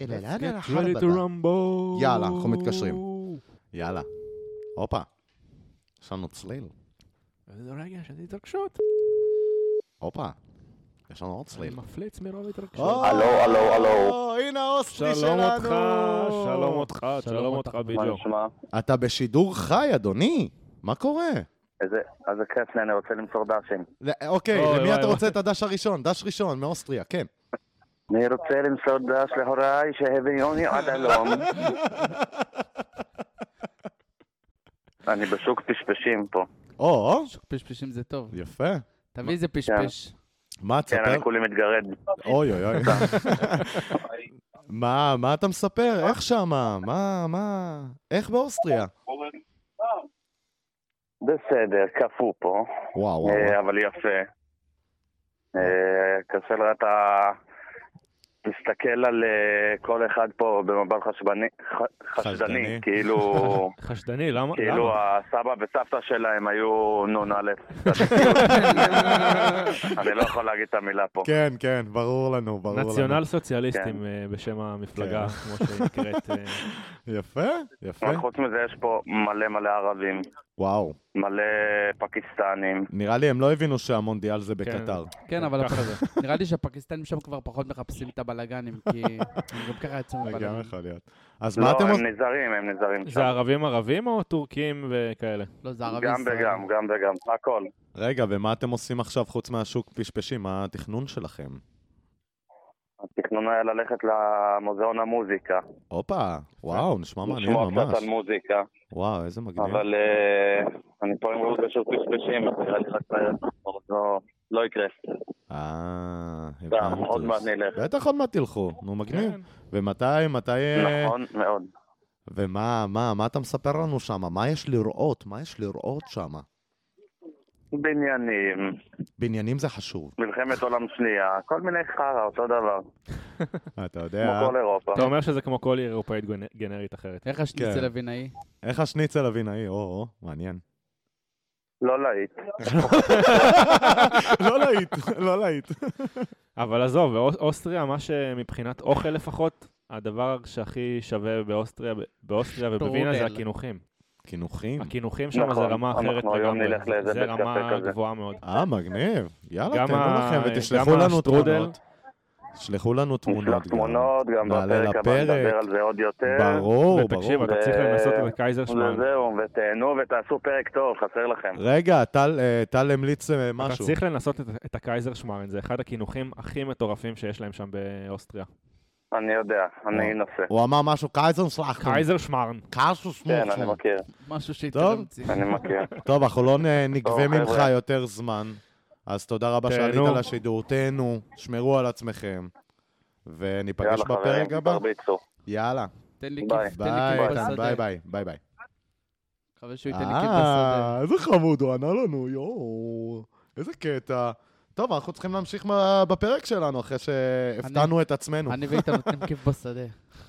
A: "אלא לאן
D: אה. get
A: הלכה
D: ready to
A: הבדה?"
D: rumble.
A: יאללה, אנחנו מתקשרים. יאללה. הופה. יש לנו צליל.
D: איזה רגע של התרגשות.
A: הופה. יש לנו עוד
D: אני
A: צליל.
D: מפליץ מרוב התרגשות.
A: הלו, הלו, הלו. הנה האוסטרי
D: אה, שלום
A: אה, שלנו.
D: אותך, שלום אותך, שלום
C: שלום
D: אותך
C: אותך.
B: מה
D: בדיוק.
B: נשמע?
A: אתה בשידור חי, אדוני. מה קורה?
B: איזה, אז הקרצני, אני רוצה למסור דשים.
A: ל- אוקיי,
D: אוי,
A: למי
D: וואי,
A: אתה
D: וואי.
A: רוצה את הדש הראשון? דש ראשון, מאוסטריה, כן.
B: אני רוצה למסור דש להוריי שהביאוני עד הלום. אני בשוק פשפשים פה.
A: או,
C: שוק פשפשים זה טוב.
A: יפה.
C: תביא איזה
A: כן.
C: פשפש.
A: מה,
B: כן,
A: תספר?
B: אני כולי מתגרד.
A: אוי, אוי, אוי. מה, מה אתה מספר? איך שמה? מה, מה? איך באוסטריה?
B: בסדר, קפוא פה,
A: וואו, וואו.
B: אה, אבל יפה. אה, קשה לראות את ה... תסתכל על אה, כל אחד פה במבט חשבני, ח-
A: חשדני.
B: חשדני, כאילו...
D: חשדני, למה?
B: כאילו
D: למה?
B: הסבא וסבתא שלהם היו נ"א. אני לא יכול להגיד את המילה פה.
A: כן, כן, ברור לנו, ברור לנו.
D: נציונל סוציאליסטים
B: כן.
D: אה, בשם המפלגה,
A: כן.
D: כמו שנקראת. אה,
A: יפה, יפה.
B: אבל חוץ מזה יש פה מלא מלא ערבים,
A: וואו,
B: מלא פקיסטנים.
A: נראה לי הם לא הבינו שהמונדיאל זה בקטר.
C: כן, אבל
D: ככה
C: הפ-
D: זה.
C: נראה לי שהפקיסטנים שם כבר פחות מחפשים את הבלאגנים, כי הם גם ככה יצאו
A: זה גם
C: מבלאגנים.
A: יכול להיות. אז מה
B: לא,
A: אתם
B: הם
A: עושים?
B: נזהרים, הם נזהרים שם.
D: זה ערבים ערבים או טורקים וכאלה?
C: לא, זה ערבי
B: גם
C: ישראל.
B: וגם, גם וגם, הכל.
A: רגע, ומה אתם עושים עכשיו חוץ מהשוק פשפשים? מה התכנון שלכם?
B: התכנון היה ללכת למוזיאון המוזיקה.
A: הופה, וואו, נשמע מעניין
B: לשמוע קצת
A: ממש.
B: על מוזיקה,
A: וואו, איזה מגניב.
B: אבל אה, אני פה עם רעות בשוק פשפשים, אז נראה לי רק לא- לא יקרה.
A: כן, אה,
B: גם, עוד מעט
A: הבנתי.
B: נלך.
A: בטח עוד מעט תלכו, נו מגניב.
D: כן.
A: ומתי, מתי... אה,
B: נכון מאוד.
A: ומה, מה, מה אתה מספר לנו שם? מה יש לראות? מה יש לראות שם?
B: בניינים,
A: בניינים זה חשוב,
B: מלחמת עולם שנייה, כל מיני חרא, אותו דבר,
A: אתה
B: כמו
A: יודע.
B: כל אירופה.
D: אתה אומר שזה כמו כל עיר אירופאית גנ- גנרית אחרת.
C: איך השניצל
A: כן.
C: אבינאי?
A: איך השניצל אבינאי? או, או, מעניין.
B: לא להיט.
A: לא להיט, לא להיט.
D: אבל עזוב, באוס- אוסטריה, מה שמבחינת אוכל לפחות, הדבר שהכי שווה באוסטריה, באוסטריה ובווינה זה
A: אוקיי,
C: שטרודל.
D: הקינוחים.
A: קינוחים.
D: הקינוחים שם
B: נכון,
D: זה רמה
B: אנחנו
D: אחרת
B: היום
D: לגמרי.
B: נלך לאיזה
D: זה
B: בית קפה
D: רמה
B: כזה.
D: גבוהה מאוד.
A: אה, מגניב. יאללה,
D: גם
A: תנו
D: ה-
A: לכם ותשלחו
D: גם
A: לנו
D: השטרודל.
A: תמונות. תשלחו לנו
B: נשלח
A: תמונות גם.
B: תמונות, גם
A: נעלה
B: בפרק הבא
A: לפרק.
B: נדבר על זה עוד יותר.
A: ברור, ברור.
D: ותקשיב, אתה
B: ו-
D: צריך לנסות את הקייזר שמן.
B: וזהו, ותהנו ותעשו פרק טוב, חסר לכם.
A: רגע, טל, אה, טל המליץ אה,
D: אתה
A: משהו.
D: צריך לנסות את, את הקייזר שמרן, זה אחד הקינוחים הכי מטורפים שיש להם שם באוסטריה.
A: כן.
B: אני יודע,
A: אה.
B: אני אנסה.
A: הוא אמר משהו, קייזר שלחתם.
D: קייזר שמרן.
A: קייזר
B: כן, אני
A: שמוצמן.
B: מכיר,
C: משהו
A: טוב.
C: שהתקדם
B: אני מכיר.
A: טוב, אנחנו לא נ-
B: טוב,
A: נגבה
B: חבר'ה.
A: ממך יותר זמן, אז תודה רבה
D: תהנו.
A: שעלית לשידור. תהנו, שמרו על עצמכם, וניפגש
B: יאללה
A: בפרק
B: חברים,
A: הבא.
B: תרביצו.
A: יאללה,
C: תן לי
B: ביי.
C: כיף, תן לי
A: ביי,
C: כיף
A: איתן, ביי
C: בשדה.
A: ביי, ביי ביי.
C: מקווה שהוא ייתן לי כיף בשדה.
A: אה, איזה חמוד, הוא ענה לנו, יואו, איזה קטע. טוב, אנחנו צריכים להמשיך מה- בפרק שלנו אחרי שהפתענו את עצמנו.
C: אני ואיתן נותנים כיף בשדה.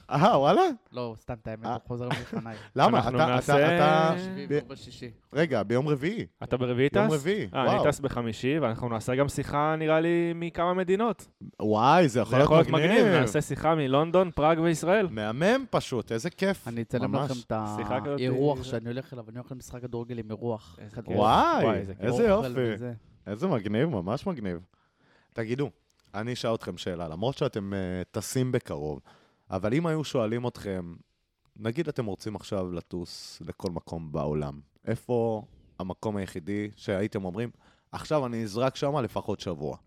A: אה, וואלה?
C: לא, סתם את האמת,
A: אה.
C: הוא חוזר לפניי.
A: למה?
D: אנחנו
A: אתה- אתה-
D: נעשה-
A: אתה...
C: בשביעי
A: ב-
C: ובשישי.
A: רגע, ביום רביעי.
D: אתה ברביעי טס?
A: יום רביעי,
D: אה, אני
A: וואו.
D: טס בחמישי, ואנחנו נעשה גם שיחה, נראה לי, מכמה מדינות.
A: וואי, זה
D: זה
A: יכול להיות מגניב.
D: נעשה שיחה מלונדון, פראג וישראל.
A: מהמם פשוט, איזה כיף.
C: אני אצלם
A: ממש.
C: לכם את
D: שיחה כזאת-
C: האירוח שאני הולך אליו, אני הולך למשחק כדורגל עם אירוח.
D: איזה
C: חדרי
D: כיף.
A: וואי,
D: וואי, איזה כיף.
A: איזה
C: אוכל
A: יופי.
C: וזה.
A: איזה מגניב, ממש מגניב. תגידו, אני אשאל אתכם שאלה, למרות שאתם אה, טסים בקרוב, אבל אם היו שואלים אתכם, נגיד אתם רוצים עכשיו לטוס לכל מקום בעולם, איפה המקום היחידי שהייתם אומרים, עכשיו אני אזרק שמה לפחות שבוע?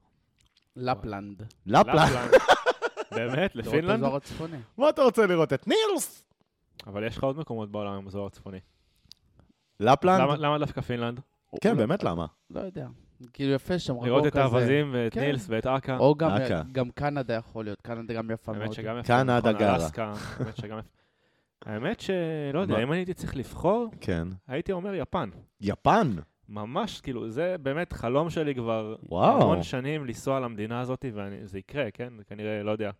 C: לפלנד.
A: לפלה.
D: באמת?
A: לא,
C: לראות את
D: לפינלנד?
C: הזוהר הצפוני.
A: מה אתה רוצה לראות? את נילס?
D: אבל יש לך עוד מקומות בעולם עם הזוהר הצפוני. למה
A: לפלנד?
D: למה דווקא פינלנד?
A: כן, באמת, למה?
C: לא יודע. כאילו יפה שם, רבו כזה.
D: לראות את האווזים ואת
C: כן.
D: נילס ואת אכ"א.
C: או גם-
A: אכ"א.
C: גם קנדה יכול להיות, קנדה גם יפה מאוד.
D: האמת שגם יפה.
A: קנדה
D: נכון,
A: גרה.
D: אלסקה, האמת שגם יפה. האמת שלא יודע,
A: מה?
D: אם אני הייתי צריך לבחור,
A: כן.
D: הייתי אומר יפן.
A: יפן?
D: ממש, כאילו, זה באמת חלום שלי כבר
A: וואו.
D: המון שנים לנסוע למדינה הזאת, וזה יקרה, כן? כנראה, לא יודע,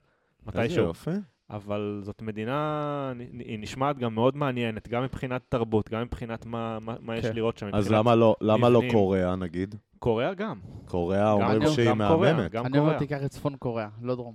A: איזה
D: מתישהו.
A: יופי. אבל
D: אבל זאת מדינה, נ- היא נשמעת גם מאוד מעניינת, גם מבחינת תרבות, גם מבחינת מה, מה, מה יש
C: כן.
D: לראות שם.
A: אז
D: מבחינת-
A: למה לא- למה לא
D: מבנים.
A: קוריאה, נגיד?
D: קוריאה גם.
A: קוריאה
D: גם-
A: אומרים
D: גם
A: שהיא
D: קוריאה,
A: מהממת.
D: גם
C: אני אומר,
D: קוריאה.
C: תיקח את צפון קוריאה, לא דרום.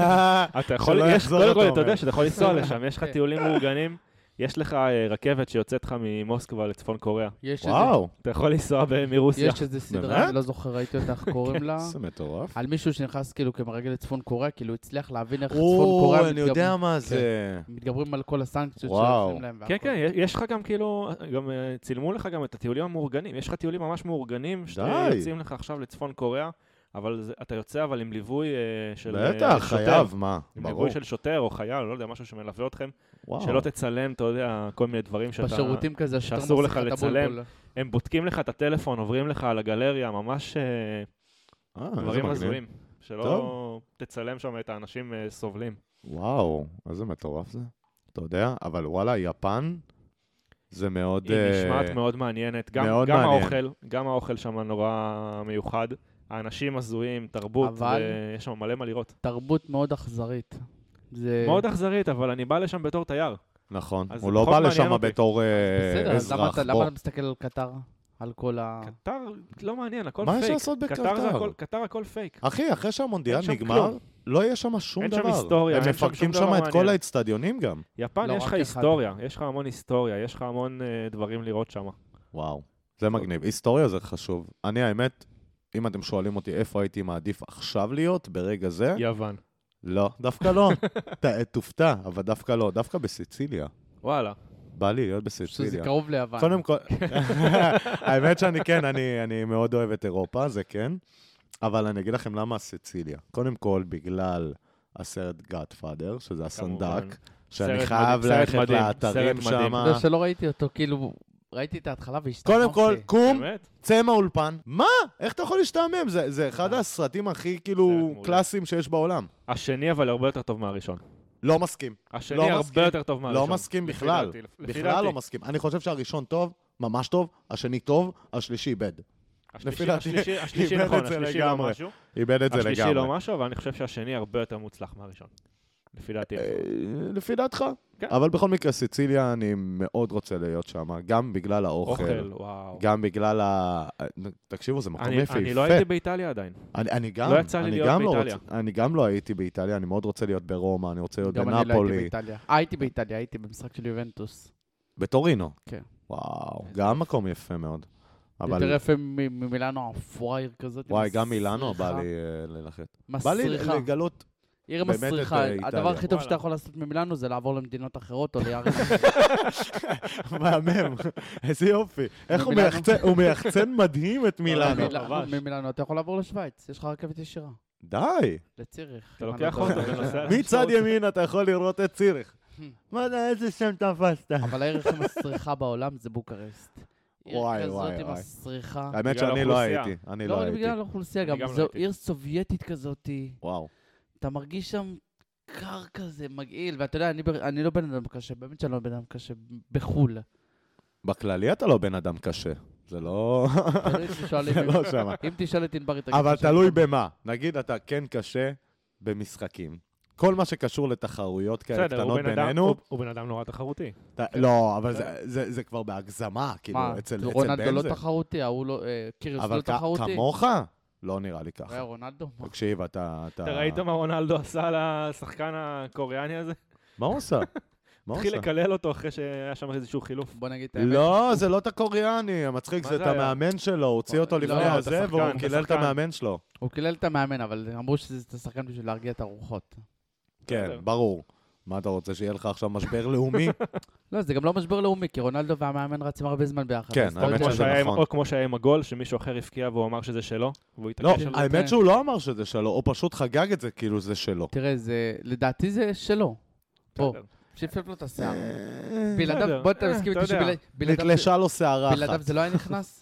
D: אתה יכול,
A: שלא
D: יש,
A: לא יחזור
D: קודם כל,
A: אותו,
D: אתה יודע
A: אומר.
D: שאתה יכול לנסוע לשם, יש לך
C: כן.
D: טיולים מאורגנים, יש לך אה, רכבת שיוצאת לך ממוסקבה לצפון קוריאה.
C: יש איזה-
A: וואו,
D: אתה יכול לנסוע ב- מרוסיה.
C: יש איזה
A: באמת? כן,
C: סדרה, אני לא זוכר, ראיתי אותה, איך קוראים
D: אה,
C: לה.
A: זה מטורף.
C: על מישהו שנכנס כאילו כמרגל לצפון קוריאה, כאילו הצליח להבין איך צפון
A: או,
C: קוריאה
A: אני יודע
C: מתגבר-
A: מה זה.
C: מתגברים על כל הסנקציות
A: וואו.
C: שעושים להם.
D: כן,
C: והכל.
D: כן, יש- יש לך גם כאילו, גם אה, צילמו לך גם את הטיולים המאורגנים. יש לך טיולים ממש מאורגנים,
A: די.
D: שיוצאים לך עכשיו לצפון קוריאה, אבל זה- אתה יוצא אבל עם ליווי אה, של אה,
A: בטח,
D: שוטר.
A: חייב, מה?
D: עם
A: ברור.
D: ליווי של שוטר או חייל, לא יודע, משהו שמלווה אתכם,
A: וואו. אה,
D: שלא תצלם, אתה יודע, כל מיני דברים שאתה...
C: בשירותים כזה, השוטר
D: שאסור
C: מחזיק
D: לך
C: את הבולבול.
D: הם בודקים לך את הטלפון, עוברים לך על הגלריה, ממש אה,
A: אה, איזה
D: דברים
A: מגניב.
D: הזויים. שלא
A: טוב.
D: תצלם שם את האנשים אה, סובלים.
A: וואו, איזה מטורף זה. אתה יודע, אבל וואלה, יפן זה מאוד...
D: היא
A: אה,
D: נשמעת מאוד מעניינת. גם,
A: מאוד
D: גם
A: מעניין.
D: האוכל, גם האוכל שם נורא מיוחד. האנשים הזויים, תרבות,
C: אבל-
D: ויש שם מלא מה לראות.
C: תרבות מאוד אכזרית. זה...
D: מאוד אכזרית, אבל אני בא לשם בתור תייר.
A: נכון.
D: אז
A: הוא
D: זה
A: לא
D: פחות
A: בא
D: מעניין
A: לשם
D: אותי.
A: בתור אה,
C: בסדר, אז למה
A: אזרח. בוא.
C: אתה- למה אתה מסתכל על קטר? על כל ה...
D: קטר לא מעניין, הכל
A: מה
D: פייק.
A: יש לעשות אה.
D: קטר זה
A: בקטר?
D: הכל- קטר הכל פייק.
A: אחי, אחרי שהמונדיאל
D: אין שם
A: נגמר,
D: כלום.
A: לא יהיה שם שום
D: אין שם
A: דבר.
D: היסטוריה,
A: הם
D: אין שם
A: מפרקים
D: שום דבר
A: שם את כל
D: מעניין.
A: האצטדיונים גם.
D: יפן,
C: לא,
D: יש לך
C: רק אחד.
D: היסטוריה, יש לך המון היסטוריה, יש לך המון אה, דברים לראות שם.
A: וואו, זה מגניב. היסטוריה זה חשוב. אני, האמת, אם אתם שואלים אותי איפה הייתי מעדיף עכשיו להיות, ברגע זה,
D: יוון.
A: לא, דווקא לא. ת- תופתע, אבל דווקא לא. דווקא בסיציליה.
D: וואלה.
A: בא לי להיות
C: שזה
A: בסיציליה.
C: קרוב ליוון.
A: קודם כל, האמת שאני כן, אני, אני מאוד אוהב את אירופה, זה כן, אבל אני אגיד לכם למה סיציליה. קודם כל, בגלל הסרט גאטפאדר, שזה הסנדק,
D: כמובן.
A: שאני
D: סרט
A: חייב
D: מדהים, סרט
A: ללכת
D: מדהים,
A: לאתרים
D: סרט אוקיי. מדהים.
A: שם.
C: אתה יודע לא שלא ראיתי אותו, כאילו, ראיתי את ההתחלה והשתכחתי.
A: קודם כל, קום,
D: באמת?
A: צא מהאולפן. מה? איך אתה יכול להשתעמם? זה, זה אחד הסרטים הכי כאילו
D: אה. מעולה.
A: קלאסיים שיש בעולם.
D: השני אבל הרבה יותר טוב מהראשון.
A: לא מסכים.
D: השני
A: לא מסכים.
D: הרבה יותר טוב מהראשון.
A: לא מסכים
D: לפי
A: בכלל.
D: דעתי, לפי
A: בכלל
D: דעתי.
A: לא מסכים. אני חושב שהראשון טוב, ממש טוב, השני טוב, השלישי איבד. לפי
D: השלישי,
A: דעתי,
D: השלישי, השלישי
A: איבד
D: נכון,
A: את זה
D: השלישי לא
A: לגמרי.
D: משהו.
A: איבד את זה
D: השלישי
A: לגמרי.
D: לא משהו, אבל אני חושב שהשני הרבה יותר מוצלח מהראשון. לפי דעתי.
A: אה, לפי דעתך.
D: כן.
A: אבל בכל מקרה, סיציליה, אני מאוד רוצה להיות שם, גם בגלל האוכל.
D: אוכל, וואו.
A: גם בגלל ה... אה, תקשיבו, זה מקום
D: אני,
A: יפהפה.
D: אני לא הייתי באיטליה עדיין.
A: אני, אני גם,
D: לא יצא לי
A: אני
D: להיות
A: גם לא
D: באיטליה.
A: רוצה, אני גם לא הייתי באיטליה, אני מאוד רוצה להיות ברומא, אני רוצה להיות
C: גם אני לא הייתי
A: בנפולי,
C: באיטליה. אה, הייתי באיטליה, הייתי במשחק של יובנטוס.
A: בטורינו.
C: כן.
A: וואו, גם מקום יפה מאוד.
C: יותר
A: אבל
C: יפה מ- ממילאנו הפראייר כזאת. עם
A: וואי, גם מילאנו בא
C: הסריחה.
A: לי אה, ללכת. בא לי
C: מסריחה.
A: לגלות...
C: עיר
A: באמת את,
C: מסריחה.
A: אה, איטליה.
C: הדבר הכי טוב
D: וואלה.
C: שאתה יכול לעשות ממילאנו זה לעבור למדינות אחרות או ליערים.
A: מהמם, איזה יופי. איך הוא
C: מילאנו.
A: מייחצן, הוא מייחצן מדהים את מילאנו.
D: מילאנו. לא, ממש.
C: ממילאנו אתה יכול לעבור לשוויץ, יש לך רכבת ישירה.
A: די.
C: לציריך.
D: אתה
C: אם
D: לוקח
C: אני לא
D: אוטו
C: טועה.
D: ונוסע...
A: מצד ימין אתה יכול לראות את ציריך.
C: Hmm.
A: מה זה, איזה שם תפסת.
C: אבל העיר הכי מסריחה בעולם זה בוקרשט. עיר
A: וואי,
C: כזאת
A: וואי,
C: עם
A: וואי.
C: הסריחה.
A: האמת
D: בגלל
A: שאני לא
D: האוכלוסייה.
A: הייתי, אני לא
C: לא,
A: הייתי.
C: בגלל האוכלוסייה
D: אני
C: גם,
D: גם לא
C: זו
D: הייתי.
C: עיר סובייטית כזאתי.
A: וואו.
C: אתה מרגיש שם קר כזה, מגעיל, ואתה יודע, אני, ב- אני לא בן אדם קשה, באמת שאני לא בן אדם קשה, בחו"ל.
A: בכללי אתה לא בן אדם קשה. זה לא...
C: תלוי אם תשאל
A: זה
C: אם-
A: לא שמה.
C: אם תשאל את ענבר, היא תגיד
A: אבל
C: לך שאני
A: תלוי
C: לא.
A: במה. נגיד אתה כן קשה במשחקים. כל מה שקשור לתחרויות כאלה
D: בסדר, הוא
A: קטנות
D: בן אדם-
A: בינינו,
D: הוא- הוא בן אדם נורא תחרותי.
A: אתה- לא, אבל זה- זה זה כבר בהגזמה,
C: מה,
A: כאילו, אצל אצל
C: רונלדו
A: בן
C: לא
A: זה.
C: תחרותי, ההוא לא, אה, קיריוס
A: אבל
C: לא
A: כ-
C: תחרותי.
A: כמוך? לא נראה לי
C: היה
A: ככה.
C: רונלדו? מה?
A: תקשיב, אתה... אתה-
D: אתה ראית מה רונלדו עשה לשחקן הקוריאני הזה?
A: מה הוא עושה? מה הוא
D: התחיל
A: עושה?
D: לקלל אותו אחרי שהיה שם איזשהו חילוף.
C: בוא נגיד את האמת.
A: לא, זה לא את הקוריאני, המצחיק,
D: מה
A: זה
D: זה
A: את
D: היה?
A: המאמן שלו, הוא הוציא אותו
C: לא,
A: לפני
D: אתה
A: הזה,
D: שחקן,
A: והוא
D: אתה
A: קילל את
D: שחקן.
A: המאמן שלו.
C: הוא קילל את המאמן, אבל אמרו שזה שחקן בשביל להרגיע את הרוחות.
A: כן,
D: בסדר.
A: ברור. מה אתה רוצה, שיהיה לך עכשיו משבר לאומי?
C: לא, זה גם לא משבר לאומי, כי רונלדו והמאמן רצים הרבה זמן ביחד.
A: כן,
C: אז
A: האמת
C: כל
D: כמו
A: שזה
C: הזמן-
D: שהיה עם-
A: נכון.
D: או כמו שהיה עם הגול, שמישהו אחר הבקיע והוא אמר שזה שלו, והוא
A: לא,
D: התעקש על זה.
A: האמת שהוא לא אמר שזה שלו, הוא פשוט חגג את זה כאילו זה שלו.
C: תראה, זה, לדעתי זה שלו. בוא,
D: בסדר.
C: שיפף לו את השיער.
A: אה,
C: בלעדיו,
D: בסדר.
C: בוא תסכים
D: אה,
C: איתי
D: אתה יודע.
C: שבלעדיו
A: נתלשה לו שערה אחת.
C: בלעדיו זה לא היה נכנס?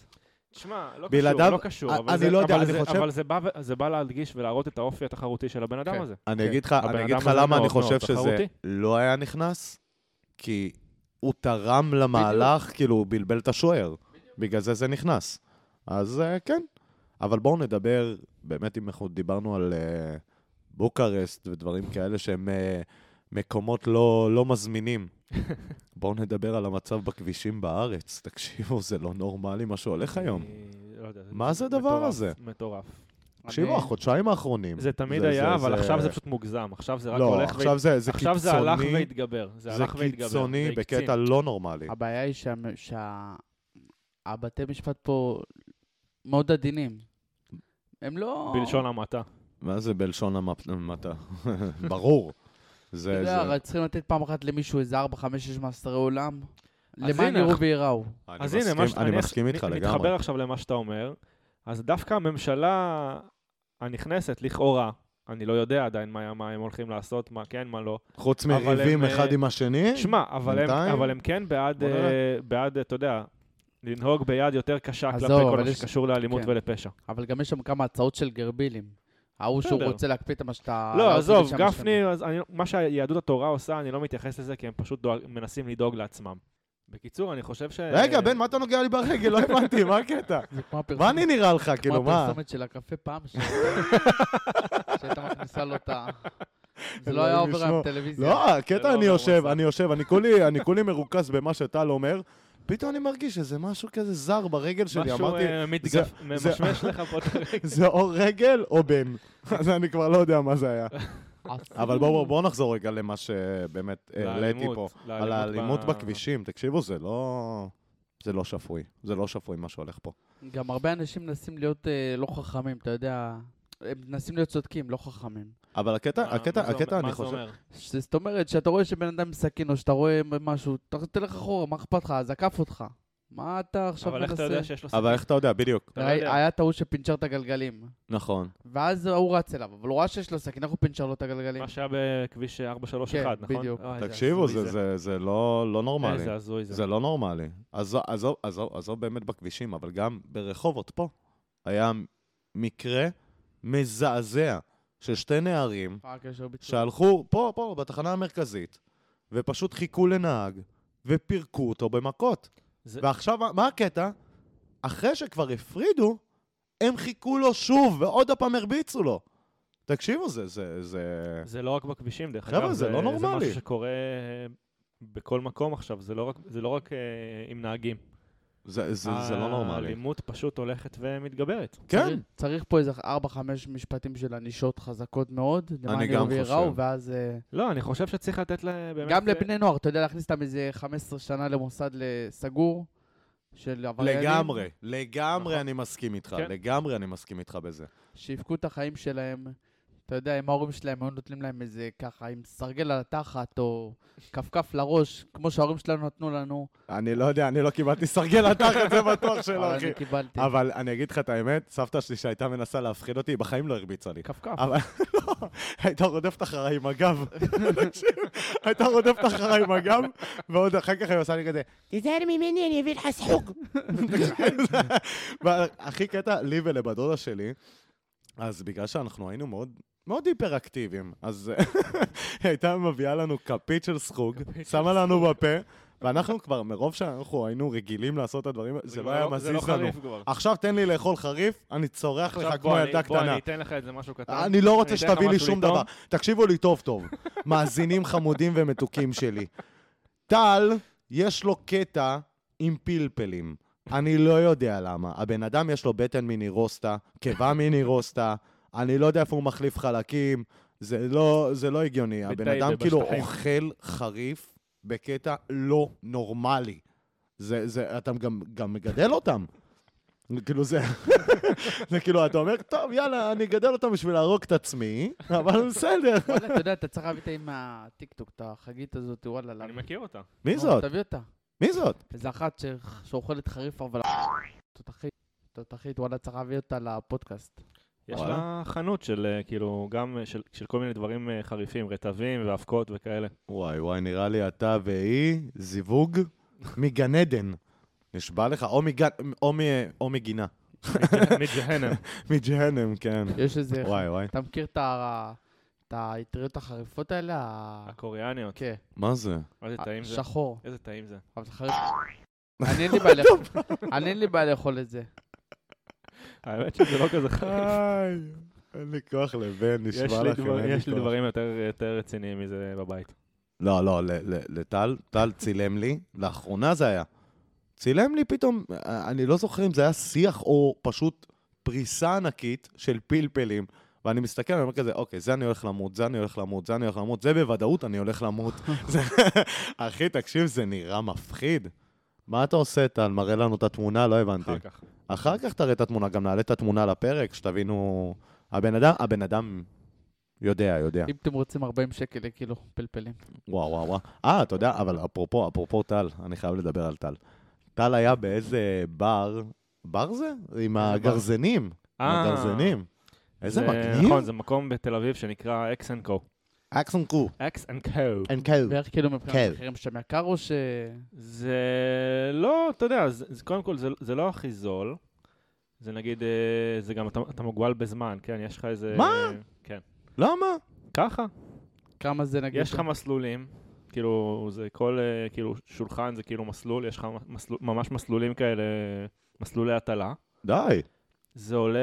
D: תשמע, לא קשור,
A: בלעדיו-
D: לא קשור. אבל
A: אני
D: זה-
A: לא יודע,
D: אבל
A: אני
D: זה-
A: חושב-
D: אבל זה בא ו- זה בא להדגיש ולהראות את האופי התחרותי של הבן
C: כן.
D: אדם הזה.
A: אני
C: כן.
A: אגיד לך,
D: הבן
A: אני אגיד
D: אדם
A: לך
D: הזה
A: למה אני
D: מאוד
A: חושב
D: מאוד
A: שזה
D: תחרותי.
A: לא היה נכנס, כי הוא תרם למהלך, כאילו הוא בלבל את השוער. בגלל זה זה נכנס. אז אה, כן. אבל בואו נדבר, באמת אם אנחנו דיברנו על אה, בוקרשט ודברים כאלה שהם אה, מקומות לא לא מזמינים. בואו נדבר על המצב בכבישים בארץ. תקשיבו, זה לא נורמלי מה שהולך היום.
D: אני לא יודע,
A: מה זה הדבר
D: מטורף,
A: הזה?
D: מטורף.
A: תקשיבו,
C: אני-
A: החודשיים האחרונים.
D: זה תמיד היה, אבל עכשיו זה
A: פשוט
D: פשוט מוגזם. עכשיו זה רק
A: לא,
D: הולך ו...
A: עכשיו זה זה קיצוני.
D: עכשיו זה הלך והתגבר. זה
A: זה
D: הלך והתגבר.
A: קיצוני
D: זה הקצין.
A: בקטע לא נורמלי.
C: הבעיה היא שהמ- שה- הבתי משפט פה מאוד עדינים. הם לא...
D: בלשון המעטה.
A: מה זה בלשון המטה? ברור.
C: אתה
A: זה,
C: יודע,
A: זה...
C: הרי צריכים לתת פעם אחת למישהו איזה 4, 5, 6 מאסרי עולם.
D: אז
C: למען
D: הנה,
C: יראו
D: אח-
C: וייראו.
A: אני
D: אז הנה, מה ש-
A: מסכים- אני
D: אני
A: מסכים איתך
D: מת-
A: לגמרי.
D: מתחבר עכשיו למה שאתה אומר. אז דווקא הממשלה הנכנסת, לכאורה, אני לא יודע עדיין מה מה הם הולכים לעשות, מה כן, מה לא.
A: חוץ
D: אבל
A: מריבים
D: הם, אה,
A: אחד עם השני,
D: שמע, אבל הם-
A: כן, בינתיים-
D: אבל הם כן בעד,
A: בוא נראה.
D: אה, בעד, אתה יודע, לנהוג ביד יותר קשה
C: אז
D: כלפי
C: זהו,
D: כל
C: אבל
D: מה
C: יש-
D: שקשור לאלימות
C: כן.
D: ולפשע.
C: אבל גם יש שם כמה הצעות של גרבילים. ההוא שהוא
D: בסדר.
C: רוצה להקפיא את מה
A: אה,
C: שאתה...
D: לא,
C: להוציא
D: עזוב,
C: לשם
D: גפני,
C: לשם.
D: אז אני- מה שיהדות התורה עושה, אני לא מתייחס לזה, כי הם פשוט דואג- מנסים לדאוג לעצמם. בקיצור, אני חושב ש...
A: רגע, בן, מה אתה נוגע לי ברגל? לא הבנתי, מה הקטע?
C: זה כמו הפרסומת,
A: מה אני נראה לך, כאילו,
C: כמו
A: מה?
C: הפרסומת של הקפה פעם, ש- שהייתה מכניסה לו את ה... זה לא היה
A: אלוהים
C: עובר
A: ישמור.
C: היום טלוויזיה.
A: לא,
D: זה לא
A: הקטע, אני
D: עובר
A: יושב,
D: מסך.
A: אני יושב, אני כולי- אני כולי מרוכז במה שטל אומר, פתאום אני מרגיש איזה משהו כזה זר ברגל שלי,
D: משהו
A: אמרתי,
D: אה, מתגף- ממשמש לך פה את הרגל.
A: זה או רגל או בן. אז אני כבר לא יודע מה זה היה.
C: עשו-
A: אבל בואו בוא נחזור רגע למה שבאמת אה, העליתי פה.
D: לאלימות,
A: על האלימות
D: ב-
A: בכבישים, תקשיבו, זה לא... זה לא שפוי, זה לא שפוי מה שהולך פה.
C: גם הרבה אנשים מנסים להיות אה, לא חכמים, אתה יודע, הם מנסים להיות צודקים, לא חכמים.
A: אבל הקטע,
D: מה-
A: הקטע,
D: מה זה אומר-
A: הקטע, אני
D: מה זה
A: חושב...
D: אומר?
C: ש- זאת אומרת, שאתה רואה שבן אדם עם סכין או שאתה רואה משהו, ת- תלך אחורה, מה אכפת לך? אז עקף אותך. מה אתה עכשיו
D: אבל איך אתה
C: מנסה?
D: יודע שיש לו
A: אבל איך אתה יודע, בדיוק.
D: אתה לא יודע.
C: היה טעות שפינצ'ר את הגלגלים,
A: נכון.
C: ואז הוא רץ אליו, אבל הוא ראה שיש לו סכין, איך הוא פינצ'ר לו את הגלגלים?
D: מה שהיה בכביש 431,
C: כן,
D: נכון?
C: בדיוק.
D: אוי, איזה
A: תקשיבו,
D: הזוי
A: זה, זה, זה לא, לא נורמלי.
D: איזה הזוי זה.
A: זה לא נורמלי. עזוב, עזוב, עזוב, עזוב באמת בכבישים, אבל גם ברחובות פה היה מקרה מזעזע של שתי נערים
C: מה הקשר ביצוע?
A: שהלכו פה, פה, בתחנה המרכזית, ופשוט חיכו לנהג, ופירקו אותו במכות.
D: זה-
A: ועכשיו, מה- מה הקטע? אחרי שכבר הפרידו, הם חיכו לו שוב, ועוד פעם הרביצו לו. תקשיבו, זה, זה, זה...
D: זה לא רק בכבישים, דרך
A: כן. חבר'ה,
D: אגב.
A: זה לא
D: זה
A: נורמלי.
D: משהו שקורה אה, בכל מקום עכשיו, זה לא רק- זה לא רק אה, עם נהגים.
A: זה, זה, זה לא נורמלי.
D: האלימות פשוט הולכת ומתגברת.
A: כן,
C: צריך- צריך פה איזה 4-5 משפטים של ענישות חזקות מאוד, למען
A: אני
C: יראו
A: גם
C: וייראו,
A: חושב.
C: ואז... אה,
D: לא, אני חושב שצריך לתת להם באמת... אה,
C: גם לבני נוער, אתה יודע להכניס אותם איזה 15 שנה למוסד סגור של עבריינים.
A: לגמרי, לגמרי
D: נכון.
A: אני מסכים איתך,
D: כן.
A: לגמרי אני מסכים איתך בזה.
C: שיבכו את החיים שלהם. אתה יודע, אם ההורים שלהם היו נותנים להם איזה ככה, עם סרגל על התחת או כפכף לראש, כמו שההורים שלנו נתנו לנו,
A: אני לא יודע, אני לא קיבלתי סרגל התחת, זה בטוח שלא,
C: אבל
A: אחי.
C: אני קיבלתי.
A: אבל אני אגיד לך את האמת, סבתא שלי שהייתה מנסה להפחיד אותי, בחיים לא הרביצה לי.
C: כפכף.
A: אבל לא, הייתה רודפת אחריי עם הגב. תקשיב, הייתה רודפת אחריי עם הגב, ועוד אחר כך היא עושה לי כזה, תיזהר ממני, אני אביא לך סחוג. הכי קטע, לי ולבדודה שלי, אז בגלל שאנחנו היינו מאוד... מאוד היפראקטיביים, אז היא הייתה מביאה לנו כפית של סחוג, שמה לנו בפה, ואנחנו כבר, מרוב שאנחנו היינו רגילים לעשות את הדברים, זה לא היה מזיז לנו. עכשיו תן לי לאכול חריף, אני צורח לך כמו ילדה
D: בוא,
A: קטנה.
D: אני אתן לך איזה משהו קטן.
A: אני לא רוצה
D: אתן
A: שתביא
D: לך
A: לי
D: משהו
A: שום
D: לטעום.
A: דבר. תקשיבו לי טוב טוב, מאזינים חמודים ומתוקים שלי. טל, יש לו קטע עם פלפלים. אני לא יודע למה. הבן אדם יש לו בטן מנירוסטה, קיבה מנירוסטה, אני לא יודע איפה הוא מחליף חלקים, זה לא, זה לא הגיוני. הבן
D: בטייבה,
A: אדם כאילו
D: בשטחים.
A: אוכל חריף בקטע לא נורמלי. זה, זה, אתה גם, גם מגדל אותם. כאילו זה, זה כאילו, אתה אומר, טוב, יאללה, אני אגדל אותם בשביל להרוג את עצמי, אבל בסדר.
C: וואלה, אתה יודע, אתה צריך להביא את האם מהטיקטוק, את החגית הזאת, וואלה. למה?
D: אני מכיר אותה.
A: מי
C: נו,
A: זאת?
C: תביא אותה.
A: מי זאת?
C: איזה אחת ש- שאוכלת חריף, אבל... תותחית, תותחית, וואלה, צריך להביא אותה לפודקאסט.
D: יש
A: וואלה.
D: לה חנות של אה, כאילו, גם אה, של- של כל מיני דברים אה, חריפים, רטבים ואבקות וכאלה.
A: וואי, וואי, נראה לי אתה והיא זיווג מגן עדן. נשבע לך, או מגן, או מ... או מגינה.
D: מג'הנם.
A: מג'הנם, כן.
C: יש איזה...
A: וואי, וואי.
C: אתה מכיר את ה- את האטריות החריפות האלה? ה-
D: הקוריאניות.
C: כן,
A: מה זה?
D: איזה טעים זה.
C: שחור.
D: איזה טעים זה.
C: אבל זה חריף. אני אין לי בעיה לאכול- אני אין לי בעיה לאכול את זה.
D: האמת שזה לא כזה חריף.
A: היי, אין לי כוח לבן,
D: יש
A: נשבע
D: לי
A: לכם,
D: דבר-
A: אין לי
D: יש לי
A: כוח.
D: דברים יותר- יותר רציניים מזה בבית.
A: לא, לא, ל- ל- לטל, טל צילם לי, לאחרונה זה היה. צילם לי פתאום, אה, אני לא זוכר אם זה היה שיח או פשוט פריסה ענקית של פלפלים. ואני מסתכל, אני אומר כזה, אוקיי, זה אני הולך למות, זה אני הולך למות, זה אני הולך למות, זה בוודאות אני הולך למות. זה- אחי, תקשיב, זה נראה מפחיד. מה אתה עושה, טל? מראה לנו את התמונה? לא הבנתי.
D: אחר כך.
A: אחר כך תראה את התמונה, גם נעלה את התמונה לפרק, שתבינו... הבן אדם, הבן אדם יודע, יודע.
C: אם אתם רוצים 40 שקל לקילו פלפלים.
A: וואו, וואו, וואו. אה, אתה יודע, אבל אפרופו, אפרופו טל, אני חייב לדבר על טל. טל היה באיזה בר, בר זה? עם
D: אה, בר?
A: הגרזנים. עם
D: אה,
A: הגרזנים. איזה
D: זה-
A: מגניב.
D: נכון, זה מקום בתל אביב שנקרא אקס אנד קו.
A: אקסון קו.
D: אקס אנד קו.
A: אין קו.
C: ואיך כאילו מבחינת
A: כן.
C: מחירים שם יקר או ש...
D: זה לא, אתה יודע, זה, זה, קודם כל זה, זה לא הכי זול. זה נגיד, אה, זה גם, אתה, אתה מוגבל בזמן, כן? יש לך איזה...
A: מה?
D: כן.
A: למה?
D: ככה,
C: כמה זה נגיד?
D: יש לך מסלולים, כאילו, זה כל, אה, כאילו, שולחן זה כאילו מסלול, יש לך מסלול, ממש מסלולים כאלה, מסלולי הטלה.
A: די,
D: זה עולה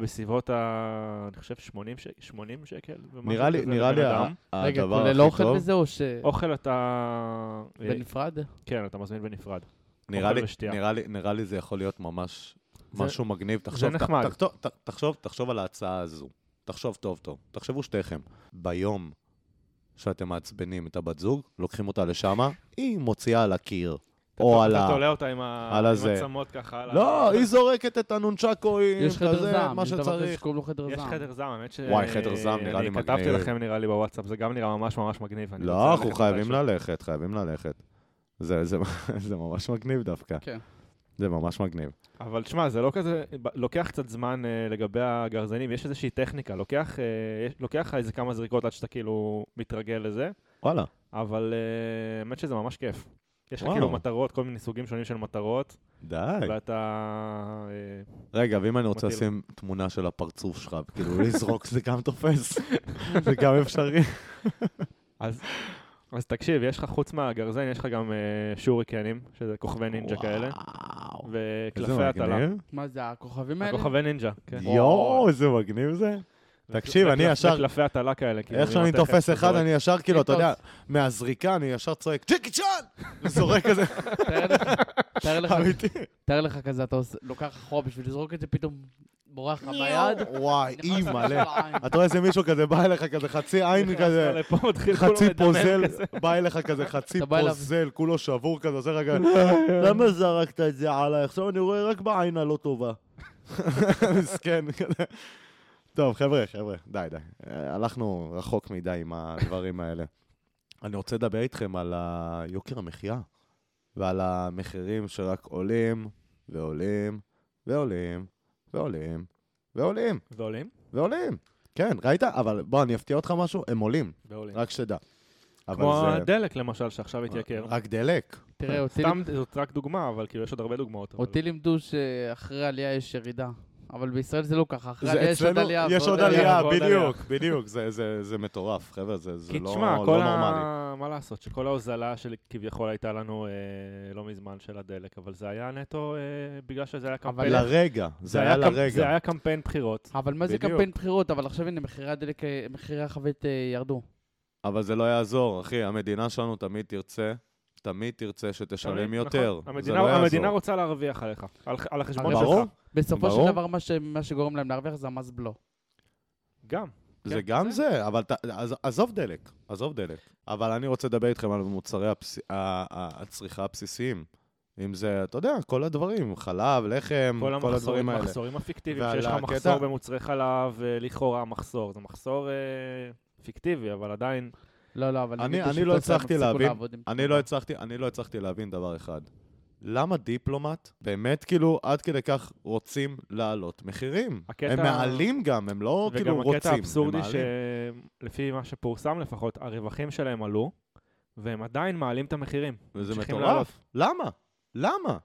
D: בסביבות ה... אני חושב 80, ש... 80 שקל. ומשהו
A: נראה לי,
D: כזה
A: נראה לי
D: לבן
A: ה-
D: אדם.
C: רגע,
A: הדבר
C: כולל
A: אה, הכי
C: אוכל
A: טוב,
C: וזה או ש...
D: אוכל אתה...
A: אה,
C: בנפרד?
D: כן, אתה מזמין בנפרד.
A: נראה
D: אוכל
A: לי-
D: ושתייה.
A: נראה לי- נראה לי זה יכול להיות ממש
D: זה-
A: משהו מגניב. תחשוב- ת-
D: נחמד.
A: תחתו- ת- תחשוב, תחשוב על ההצעה הזו. תחשוב טוב טוב. תחשבו שתיכם. ביום שאתם מעצבנים את הבת זוג, לוקחים אותה לשמה, היא מוציאה על הקיר. או
D: אתה-
A: על
D: אתה
A: ה...
D: תולה אותה עם ה-
A: על
D: עם
A: הזה.
D: הצמות ככה. על ה-
A: לא, היא זורקת את הנונצ'קוים,
C: יש חדר
A: כזה,
C: זעם,
A: מה
C: יש דבר כזה
A: שצריך.
C: שקוראים לו חדר
D: יש
C: זעם.
D: חדר זעם, האמת ש...
A: וואי, חדר זעם נראה לי
D: אני כתבתי
A: מגניב.
D: לכם נראה לי בוואטסאפ, זה גם נראה ממש ממש מגניב. אני רוצה
A: לא, אנחנו
D: ללכת
A: חייבים
D: מתישהו.
A: ללכת, חייבים ללכת. זה זה- זה ממש מגניב דווקא.
C: כן.
A: זה ממש מגניב.
D: אבל תשמע, זה לא כזה, ב- לוקח קצת זמן אה, לגבי הגרזנים, יש איזושהי טכניקה, לוקח אה, יש- לוקח לך איזה כמה זריקות עד שאתה כאילו מתרגל לזה,
A: וואלה.
D: אבל אה, האמת שזה ממש כיף. יש לך
A: וואו.
D: כאילו מטרות, כל מיני סוגים שונים של מטרות,
A: די.
D: ואתה... אה,
A: רגע, ואם אני רוצה
D: מתאים.
A: לשים תמונה של הפרצוף שלך, כאילו לזרוק זה גם תופס, זה גם אפשרי.
D: אז... אז תקשיב, יש לך חוץ מהגרזן, יש לך גם אה, שוריקנים, שזה כוכבי נינג'ה כאלה,
A: וואו.
D: וקלפי
A: איזה
D: הטלה.
A: מגניב.
C: מה זה, הכוכבים האלה?
D: הכוכבי נינג'ה, כן.
A: יואו, איזה מגניב זה. תקשיב, אני
D: וקלף-
A: ישר-
D: וקלפי הטלה כאלה, כאילו.
A: איך
D: עם
A: שאני
D: מתכת
A: תופס אחד,
D: שזורק.
A: אני ישר כאילו, אתה יודע,
C: טוב.
A: מהזריקה אני ישר צועק, ג'קי צ'אן! זורק כזה,
C: תאר לך- תאר לך-
A: אמיתי.
C: תאר לך כזה, אתה עושה- לוקח אחורה בשביל לזרוק את זה, פתאום בורח לך ביד.
A: וואי,
C: נכנס
A: אי
C: לך
A: מלא.
C: לעין.
A: אתה רואה איזה מישהו כזה בא אליך כזה חצי עין כזה,
D: נכנס לפה, מתחיל כולו
A: חצי
D: לדבר
A: פוזל,
D: כזה.
A: בא אליך כזה חצי
C: אתה בא אליו-
A: פוזל, כולו שבור כזה, עושה רגע, למה זרקת את זה עליי? עכשיו אני רואה רק בעין הלא טובה. מסכן, כזה. טוב, חבר'ה, חבר'ה, די, די. אה, הלכנו רחוק מדי עם הדברים האלה. אני רוצה לדבר איתכם על ה- יוקר המחיה ועל המחירים שרק עולים ועולים ועולים ועולים ועולים
D: ועולים?
A: ועולים. כן, ראית? אבל בוא, אני אפתיע אותך משהו, הם עולים,
D: ועולים.
A: רק שתדע. אבל
D: כמו
A: זה- אה,
D: הדלק למשל, שעכשיו התייקר.
A: רק דלק.
C: תראה, אותי
D: סתם, זאת רק דוגמה, אבל כאילו יש עוד הרבה דוגמאות. אבל-
C: אותי לימדו שאחרי עלייה יש ירידה. אבל בישראל זה לא ככה, אחרי
A: זה
C: עלייה יש עוד
A: אצלנו,
C: עלייה.
A: יש
C: ועוד
A: עוד עלייה,
D: ועוד
A: בדיוק, בדיוק. זה- זה זה מטורף, חבר'ה, זה זה
D: כי
A: לא
D: תשמע,
A: לא
D: כל
A: נורמלי.
D: ה... מה לעשות, שכל ההוזלה שכביכול הייתה לנו אה, לא מזמן של הדלק, אבל זה היה נטו אה, בגלל שזה היה קמפיין.
A: לרגע, זה היה
D: קמפ- זה
A: לרגע.
D: היה קמפיין בחירות.
C: אבל מה זה
A: בדיוק.
C: קמפיין בחירות? אבל עכשיו הנה, מחירי הדלק, אה, מחירי החבית אה, ירדו.
A: אבל זה לא יעזור, אחי, המדינה שלנו תמיד תרצה, תמיד תרצה שתשלם
D: נכון.
A: יותר. זה
D: המדינה-
A: לא יעזור.
D: המדינה רוצה להרוויח עליך, על- על החשבון
C: ברור.
D: שלך.
C: בסופו
A: ברור.
C: של דבר, מה ש- מה שגורם להם להרוויח זה המס בלו.
D: גם.
A: זה
D: כן,
A: גם זה, אבל ת- עז- עזוב דלק, עזוב דלק. אבל אני רוצה לדבר איתכם על מוצרי הבס- ה- ה- הצריכה הבסיסיים. אם זה, אתה יודע, כל הדברים, חלב, לחם,
D: כל
A: כל הדברים
D: המחסורים
A: האלה.
D: המחסורים הפיקטיביים,
A: ועל
D: שיש לך
A: הקטע-
D: מחסור במוצרי חלב, אה, לכאורה מחסור. זה מחסור אה, פיקטיבי, אבל עדיין...
C: לא, לא, אבל
A: אני-
C: לימדו
A: אני לא
C: שפלוס הם
A: הצלחתי
C: הפסיקו
A: להבין.
C: לעבוד עם-
D: אוקיי.
A: אני לא הצלחתי, אני לא הצלחתי להבין דבר אחד. למה דיפלומט באמת כאילו עד כדי כך רוצים להעלות מחירים?
D: הקטע-
A: הם מעלים גם, הם לא כאילו רוצים.
D: וגם הקטע האבסורדי
A: הם מעלים.
D: שלפי מה שפורסם לפחות, הרווחים שלהם עלו, והם עדיין מעלים את המחירים.
A: וזה
D: ממשיכים
A: מטורף.
D: לעלות.
A: למה? למה?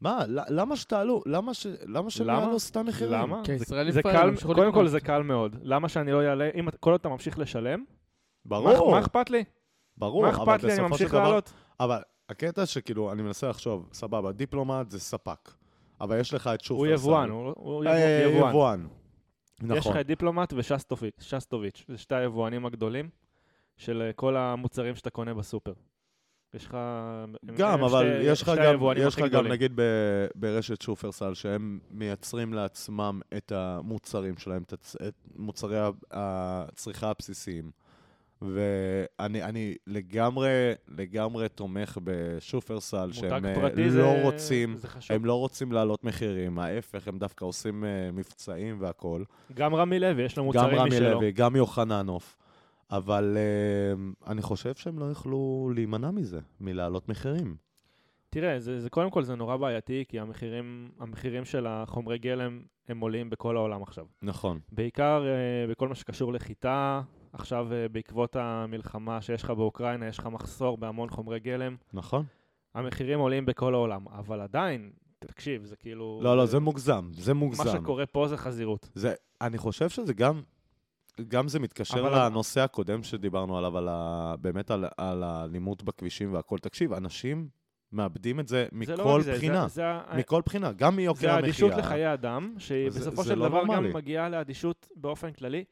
A: מה? ל- למה שתעלו? למה ש- למה שהם
D: למה?
A: יעלו סתם מחירים?
D: למה?
C: כי
D: זה-
C: הישראלים
D: זה
C: כבר
D: קל,
C: ימשיכו
D: קודם כל
C: לקנות.
D: זה קל מאוד. למה שאני לא אעלה, אם אתה- כל עוד אתה ממשיך לשלם, מה-
A: ברור,
D: מה אכפת לי?
A: ברור.
D: מה
A: אבל
D: אכפת לי? אני
A: בסופו של
D: ממשיך
A: דבר-
D: לעלות.
A: אבל הקטע שכאילו, אני מנסה לחשוב, סבבה, דיפלומט זה ספק. אבל יש לך את שופרסל.
D: הוא יבואן, הוא- לא- הוא
A: אה,
D: יבוא- יבואן.
A: יבואן.
D: יש לך
A: נכון.
D: את דיפלומט ושסטוביץ', זה שתי היבואנים הגדולים של אה, כל המוצרים שאתה קונה בסופר. יש לך... הם-
A: גם,
D: הם
A: אבל
D: שתי-
A: יש לך
D: שתי
A: גם,
D: היבואנים
A: יש לך
D: הכי
A: גם
D: גדולים.
A: נגיד ב- ברשת שופרסל, שהם מייצרים לעצמם את המוצרים שלהם, את הצ- את מוצרי ה- הצריכה הבסיסיים. ואני אני לגמרי, לגמרי תומך בשופרסל,
D: מותג
A: שהם אה,
D: פרטי
A: לא
D: זה-
A: רוצים,
D: זה חשוב.
A: הם לא רוצים להעלות מחירים, ההפך, הם דווקא עושים אה, מבצעים והכול.
D: גם רמי לוי, יש לו
A: גם
D: מוצרים
A: רמי
D: משלו.
A: לוי, גם יוחננוף. אבל אה, אני חושב שהם לא יכלו להימנע מזה, מלהעלות מחירים.
D: תראה, זה, זה קודם כל זה נורא בעייתי, כי המחירים, המחירים של החומרי גלם הם עולים בכל העולם עכשיו.
A: נכון.
D: בעיקר אה, בכל מה שקשור לחיטה, עכשיו אה, בעקבות המלחמה שיש לך באוקראינה, יש לך מחסור בהמון חומרי גלם.
A: נכון.
D: המחירים עולים בכל העולם, אבל עדיין, תקשיב, זה כאילו...
A: לא, לא, זה לא, מוגזם, זה
D: מה
A: מוגזם.
D: שקורה פה זה חזירות.
A: זה, אני חושב שזה גם, גם זה מתקשר
D: אבל-
A: לנושא הקודם שדיברנו עליו, על ה... באמת על, על האלימות בכבישים והכל. תקשיב, אנשים מאבדים את זה
D: זה לא
A: מכל
D: רק זה, זה-
A: בחינה.
D: זה ה-
A: מכל בחינה, גם מיוקר
D: זה אוקיי, האדישות
A: המחיה.
D: לחיי אדם, שהיא
A: זה-
D: בסופו
A: זה
D: של
A: לא
D: דבר
A: נורמלי.
D: גם מגיעה לאדישות באופן כללי,